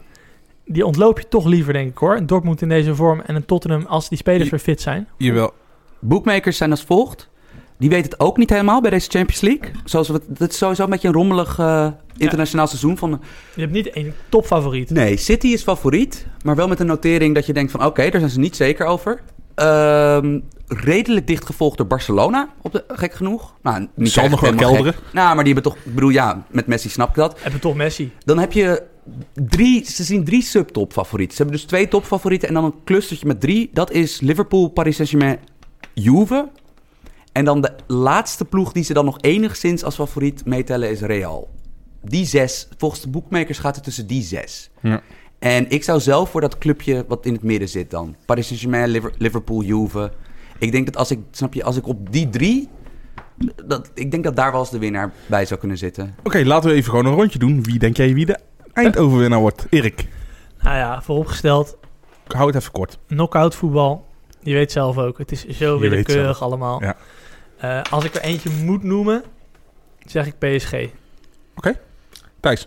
Speaker 1: die ontloop je toch liever, denk ik hoor. Een Dortmund in deze vorm en een Tottenham als die spelers
Speaker 3: Je-
Speaker 1: weer fit zijn.
Speaker 3: Jawel.
Speaker 4: Boekmakers zijn als volgt. Die weten het ook niet helemaal bij deze Champions League. Zoals we, dat is sowieso een beetje een rommelig eh, internationaal seizoen. Van,
Speaker 1: Je hebt niet één topfavoriet.
Speaker 4: nee, City is favoriet. Maar wel met een notering dat je denkt van... Oké, daar zijn ze niet zeker over. Ehm, redelijk dicht gevolgd door Barcelona. Op de, gek genoeg. Nou, niet
Speaker 3: Zal
Speaker 4: echt
Speaker 3: nog wel
Speaker 4: helemaal gek.
Speaker 3: kelderen.
Speaker 4: Nou, maar die hebben toch... Ik bedoel, ja, met Messi snap ik dat.
Speaker 1: Hebben toch Messi.
Speaker 4: Dan heb je drie, ze zien drie subtopfavorieten. Ze hebben dus twee topfavorieten en dan een clustertje met drie. Dat is Liverpool, Paris Saint-Germain, Juve. En dan de laatste ploeg die ze dan nog enigszins als favoriet meetellen is Real. Die zes, volgens de boekmakers gaat het tussen die zes.
Speaker 3: Ja.
Speaker 4: En ik zou zelf voor dat clubje wat in het midden zit dan. Paris Saint-Germain, Liver- Liverpool, Juve. Ik denk dat als ik, snap je, als ik op die drie... Dat, ik denk dat daar wel eens de winnaar bij zou kunnen zitten.
Speaker 3: Oké, laten we even gewoon een rondje doen. Wie denk jij wie de eindoverwinnaar wordt? Erik,
Speaker 1: Nou ja, vooropgesteld,
Speaker 3: hou het even kort.
Speaker 1: knock-out voetbal. Je weet zelf ook, het is zo
Speaker 3: Je weet
Speaker 1: willekeurig
Speaker 3: zelf.
Speaker 1: allemaal.
Speaker 3: Ja.
Speaker 1: Eh, als ik er eentje moet noemen, zeg ik PSG.
Speaker 3: Thijs,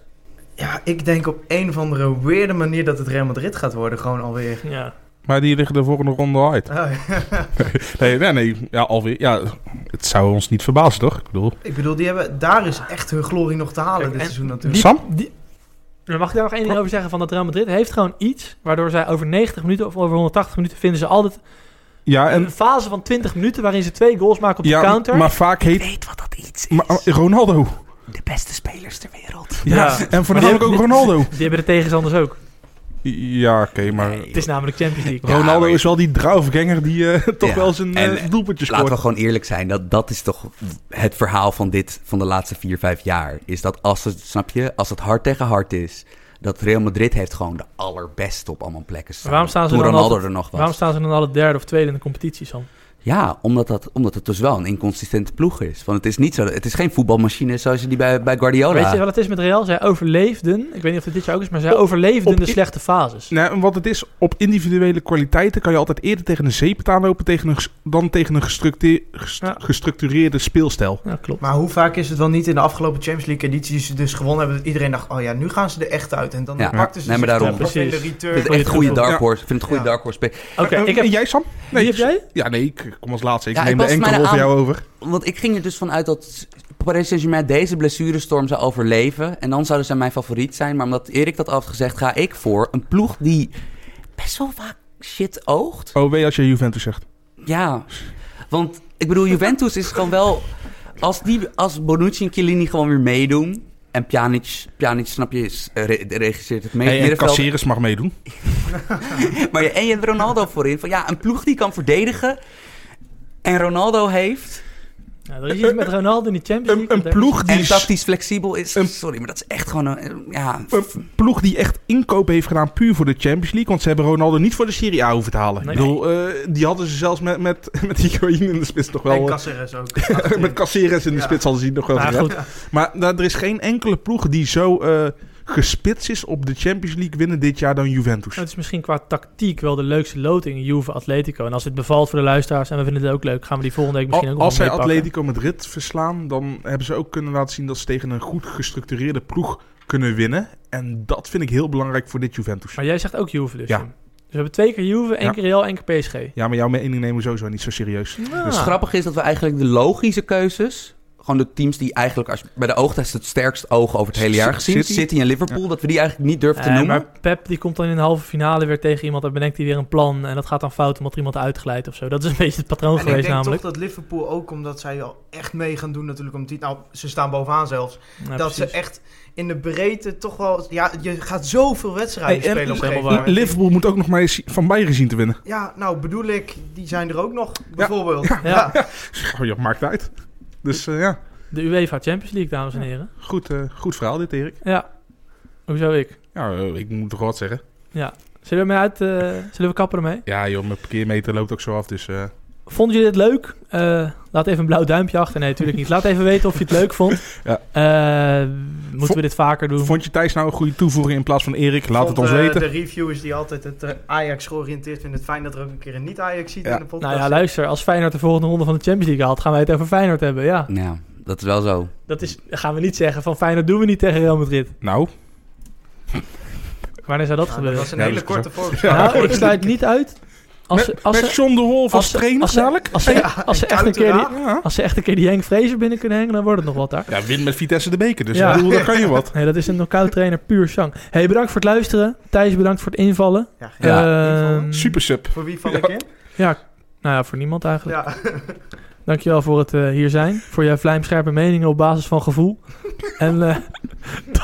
Speaker 2: Ja, ik denk op een of andere weirde manier dat het Real Madrid gaat worden. Gewoon alweer.
Speaker 1: Ja.
Speaker 3: maar die liggen de volgende ronde al uit.
Speaker 2: Oh, ja.
Speaker 3: Nee, nee, nee. Ja, alweer. Ja, het zou ons niet verbazen, toch? Ik bedoel...
Speaker 2: ik bedoel, die hebben, daar is echt hun glorie nog te halen
Speaker 1: Kijk,
Speaker 2: dit
Speaker 1: en
Speaker 2: seizoen
Speaker 1: die-
Speaker 2: natuurlijk.
Speaker 3: Sam?
Speaker 1: Die, Maar mag ik daar nog één ding over zeggen? Van dat Real Madrid heeft gewoon iets waardoor zij over 90 minuten of over 180 minuten vinden ze altijd
Speaker 3: Ja, en...
Speaker 1: een fase van 20 minuten waarin ze twee goals maken op de
Speaker 3: ja,
Speaker 1: counter.
Speaker 3: maar vaak heet...
Speaker 4: Weet wat dat iets is.
Speaker 3: Maar, maar Ronaldo.
Speaker 4: De beste spelers ter wereld.
Speaker 3: Ja.
Speaker 1: Ja.
Speaker 3: En voornamelijk ook
Speaker 1: Maar-
Speaker 3: Ronaldo.
Speaker 1: Die hebben de tegenstanders ook.
Speaker 3: Ja, oké, maar...
Speaker 4: Nee.
Speaker 1: Het is namelijk Champions League.
Speaker 3: Ronaldo
Speaker 4: maar-
Speaker 3: is wel die draufganger die eh, toch
Speaker 4: Ja,
Speaker 3: wel zijn
Speaker 4: en-
Speaker 3: eh, doelpuntje
Speaker 4: Laten we
Speaker 3: scoort.
Speaker 4: gewoon eerlijk zijn. Dat, dat is toch het verhaal van dit, van de laatste vier, vijf jaar. Is dat als het, snap je, als het hard tegen hard is. Dat Real Madrid heeft gewoon de allerbeste op allemaal plekken staan.
Speaker 1: Waarom staan ze
Speaker 4: Toen
Speaker 1: dan
Speaker 4: Ronaldo
Speaker 1: altijd-
Speaker 4: er nog was.
Speaker 1: Waarom staan ze dan alle derde of tweede in de competitie, Sam?
Speaker 4: Ja, omdat, dat, omdat het dus wel een inconsistente ploeg is. Want het is, niet zo, het is geen voetbalmachine zoals je die bij, bij Guardiola...
Speaker 1: Weet je wat het is met Real? Zij overleefden, ik weet niet of het dit jaar ook is, maar zij overleefden
Speaker 3: op-
Speaker 1: de slechte fases.
Speaker 3: Nee, en wat het is, op individuele kwaliteiten kan je altijd eerder tegen een zeepet aanlopen tegen een, ges- dan tegen een gestructe- gest-
Speaker 1: Ja.
Speaker 3: gestructureerde speelstijl.
Speaker 1: Ja, klopt.
Speaker 2: Maar hoe vaak is het dan niet in de afgelopen Champions League editie die ze dus gewonnen hebben, dat iedereen dacht, oh ja, nu gaan ze er echt uit. En dan
Speaker 4: Ja.
Speaker 2: pakten ze
Speaker 4: Nee, maar
Speaker 2: zich
Speaker 4: daarom.
Speaker 2: toch nog in de
Speaker 1: Precies.
Speaker 4: Ik vind
Speaker 2: return.
Speaker 4: het echt een goede
Speaker 1: Ja.
Speaker 4: dark horse. Ik vind het een goede
Speaker 2: Ja.
Speaker 4: dark horse. pick.
Speaker 1: Oké,
Speaker 3: Eh,
Speaker 1: ik heb...
Speaker 3: En jij, Sam?
Speaker 1: Wie heb jij?
Speaker 3: Ja, nee, ik kom als laatste. Ik
Speaker 4: Ja, ik
Speaker 3: neem de
Speaker 4: pas
Speaker 3: enkele
Speaker 4: mij
Speaker 3: rol voor
Speaker 4: aan.
Speaker 3: jou over.
Speaker 4: Want ik ging er dus vanuit dat Paris Saint-Germain deze blessurestorm zou overleven. En dan zouden zij mijn favoriet zijn. Maar omdat Erik dat al had gezegd, ga ik voor een ploeg die best wel vaak shit oogt.
Speaker 3: Oh, wee als je Juventus zegt.
Speaker 4: Ja, want ik bedoel, Juventus is gewoon wel... Als, die, als Bonucci en Chiellini gewoon weer meedoen... En Pjanic, Pjanic snap je, is, eh, re- regisseert het mee.
Speaker 3: Hey, en
Speaker 4: middenveld.
Speaker 3: Caceres mag meedoen.
Speaker 4: Maar je, en je hebt Ronaldo voorin. Van, ja, een ploeg die kan verdedigen. En Ronaldo heeft...
Speaker 1: Nou, er is iets met Ronaldo in de Champions League.
Speaker 3: Een, een,
Speaker 1: Dat-
Speaker 3: ploeg die,
Speaker 4: En
Speaker 3: s-
Speaker 4: tactisch flexibel is.
Speaker 3: Een-
Speaker 4: Sorry, maar dat is echt gewoon een... Ja,
Speaker 3: een ploeg die echt inkoop heeft gedaan puur voor de Champions League. Want ze hebben Ronaldo niet voor de Serie A hoeven te halen.
Speaker 1: Nee.
Speaker 3: Ik bedoel, eh, die hadden ze zelfs met, met, met Higuain in de spits nog
Speaker 2: En
Speaker 3: wel... eh,
Speaker 2: Caceres ook.
Speaker 3: Met Caceres in de
Speaker 2: Ja.
Speaker 3: spits hadden ze die nog wel
Speaker 1: Nou,
Speaker 3: gered.
Speaker 1: goed.
Speaker 3: Maar nou, er is geen enkele ploeg die zo eh, gespitst is op de Champions League winnen dit jaar dan Juventus.
Speaker 1: Het is misschien qua tactiek wel de leukste loting, Juve Atletico. En als het bevalt voor de luisteraars en we vinden het ook leuk, gaan we die volgende week misschien
Speaker 3: Al-
Speaker 1: ook
Speaker 3: als zij
Speaker 1: nog wel meepakken.
Speaker 3: Atletico Madrid verslaan, dan hebben ze ook kunnen laten zien dat ze tegen een goed gestructureerde ploeg kunnen winnen. En dat vind ik heel belangrijk voor dit Juventus.
Speaker 1: Maar jij zegt ook Juve dus.
Speaker 3: Ja.
Speaker 1: Jim. Dus we hebben twee keer Juve, één
Speaker 3: Ja.
Speaker 1: keer Real, één keer PSG.
Speaker 3: Ja, maar jouw mening nemen we sowieso niet zo serieus. Dus
Speaker 1: Ah.
Speaker 4: Het grappige is dat we eigenlijk de logische keuzes... gewoon de teams die eigenlijk als, bij de oogtest het sterkst ogen over het hele jaar gezien...
Speaker 3: City.
Speaker 4: City, en Liverpool, dat we die eigenlijk niet durven te
Speaker 1: Eh,
Speaker 4: noemen.
Speaker 1: maar Pep die komt dan in de halve finale weer tegen iemand en bedenkt hij weer een plan. En dat gaat dan fout omdat er iemand uitglijdt of zo. Dat is een beetje het patroon
Speaker 2: En ik
Speaker 1: geweest
Speaker 2: denk
Speaker 1: namelijk.
Speaker 2: toch dat Liverpool ook, omdat zij al echt mee gaan doen natuurlijk om die, Nou, ze staan bovenaan zelfs.
Speaker 1: Ja,
Speaker 2: dat
Speaker 1: precies.
Speaker 2: ze echt in de breedte toch wel... Ja, je gaat zoveel wedstrijden
Speaker 3: Hey, en-
Speaker 2: spelen op een
Speaker 1: dat is
Speaker 2: gegeven moment.
Speaker 3: Liverpool moet ook nog maar eens van Bayern zien te winnen.
Speaker 2: Ja, nou bedoel ik, die zijn er ook nog, bijvoorbeeld. Ja,
Speaker 1: Ja.
Speaker 3: Oh, ja, maakt uit. Dus eh, ja.
Speaker 1: De UEFA Champions League, dames en heren.
Speaker 3: Goed, eh, goed verhaal dit, Erik.
Speaker 1: Ja. Hoezo ik?
Speaker 3: Ja, eh, ik moet toch wat zeggen.
Speaker 1: Zullen we, mee uit, eh, zullen we kappen ermee?
Speaker 3: Ja joh, mijn parkeermeter loopt ook zo af, dus... eh,
Speaker 1: Vonden jullie dit leuk? Eh, laat even een blauw duimpje achter. Nee, natuurlijk niet. Laat even weten of je het leuk vond.
Speaker 3: Ja.
Speaker 1: Eh, moeten
Speaker 3: Vo-
Speaker 1: we dit vaker doen?
Speaker 3: Vond je Thijs nou een goede toevoeging in plaats van Erik? Laat het
Speaker 2: Vond,
Speaker 3: ons
Speaker 2: eh,
Speaker 3: weten.
Speaker 2: De reviewers die altijd het eh, Ajax georiënteerd vinden, het fijn dat er ook een keer een niet-Ajax ziet
Speaker 3: Ja.
Speaker 2: in de podcast.
Speaker 1: Nou ja, luister. Als Feyenoord de volgende ronde van de Champions League haalt, gaan wij het over Feyenoord hebben. Ja,
Speaker 4: Nou, dat is wel zo.
Speaker 1: dat is, gaan we niet zeggen van Feyenoord doen we niet tegen Real Madrid.
Speaker 3: Nou,
Speaker 1: Wanneer zou dat
Speaker 2: Nou, dat
Speaker 1: gebeuren?
Speaker 2: was een
Speaker 3: Ja,
Speaker 2: hele
Speaker 3: dat is
Speaker 2: korte
Speaker 1: Nou,
Speaker 2: voorbeschouwing.
Speaker 1: ik sluit niet uit. Als, ze-
Speaker 3: met,
Speaker 1: als,
Speaker 3: met
Speaker 1: ze,
Speaker 3: John de Wolf als
Speaker 1: als, ze,
Speaker 3: trainer
Speaker 1: als, ze,
Speaker 3: dadelijk?
Speaker 1: als, ze, als, ze echt een keer die,
Speaker 3: Ja.
Speaker 1: als ze echt een keer die Henk Vrezer binnen kunnen hangen, dan wordt het nog wat daar.
Speaker 3: Ja, win met Vitesse de beker, dus
Speaker 1: Ja.
Speaker 3: ik bedoel, daar kan je wat.
Speaker 1: Nee, dat is een knockout trainer puur zang. hey, bedankt voor het luisteren. Thijs, bedankt voor het invallen.
Speaker 2: Ja,
Speaker 4: Ja.
Speaker 1: Ehm,
Speaker 3: Super sub.
Speaker 2: Voor wie val ik in?
Speaker 1: Ja, nou ja, voor niemand eigenlijk.
Speaker 2: Ja.
Speaker 1: Dankjewel voor het eh, hier zijn. Voor je vlijmscherpe meningen op basis van gevoel. en eh,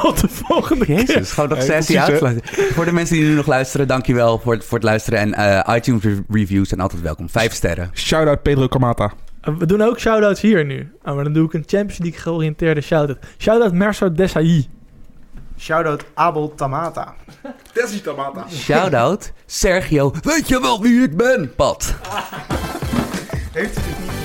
Speaker 1: tot de volgende keer.
Speaker 4: Jezus, gewoon nog
Speaker 3: Hey,
Speaker 4: sessie
Speaker 3: precies, hè?
Speaker 4: uitsluiten. Voor de mensen die nu nog luisteren, dankjewel voor het, voor het luisteren. En eh, iTunes re- reviews zijn altijd welkom. Vijf sterren.
Speaker 3: Shout-out Pedro Camata.
Speaker 1: Eh, We doen ook shout-outs hier nu. Ah, maar dan doe ik een Champions League georiënteerde shout-out. Shout-out Merso Desailly.
Speaker 2: Shoutout Abel Tamata.
Speaker 3: Tessie Camata.
Speaker 4: Shoutout Sergio, weet je wel wie ik ben? Pat.
Speaker 2: Heeft hij het niet?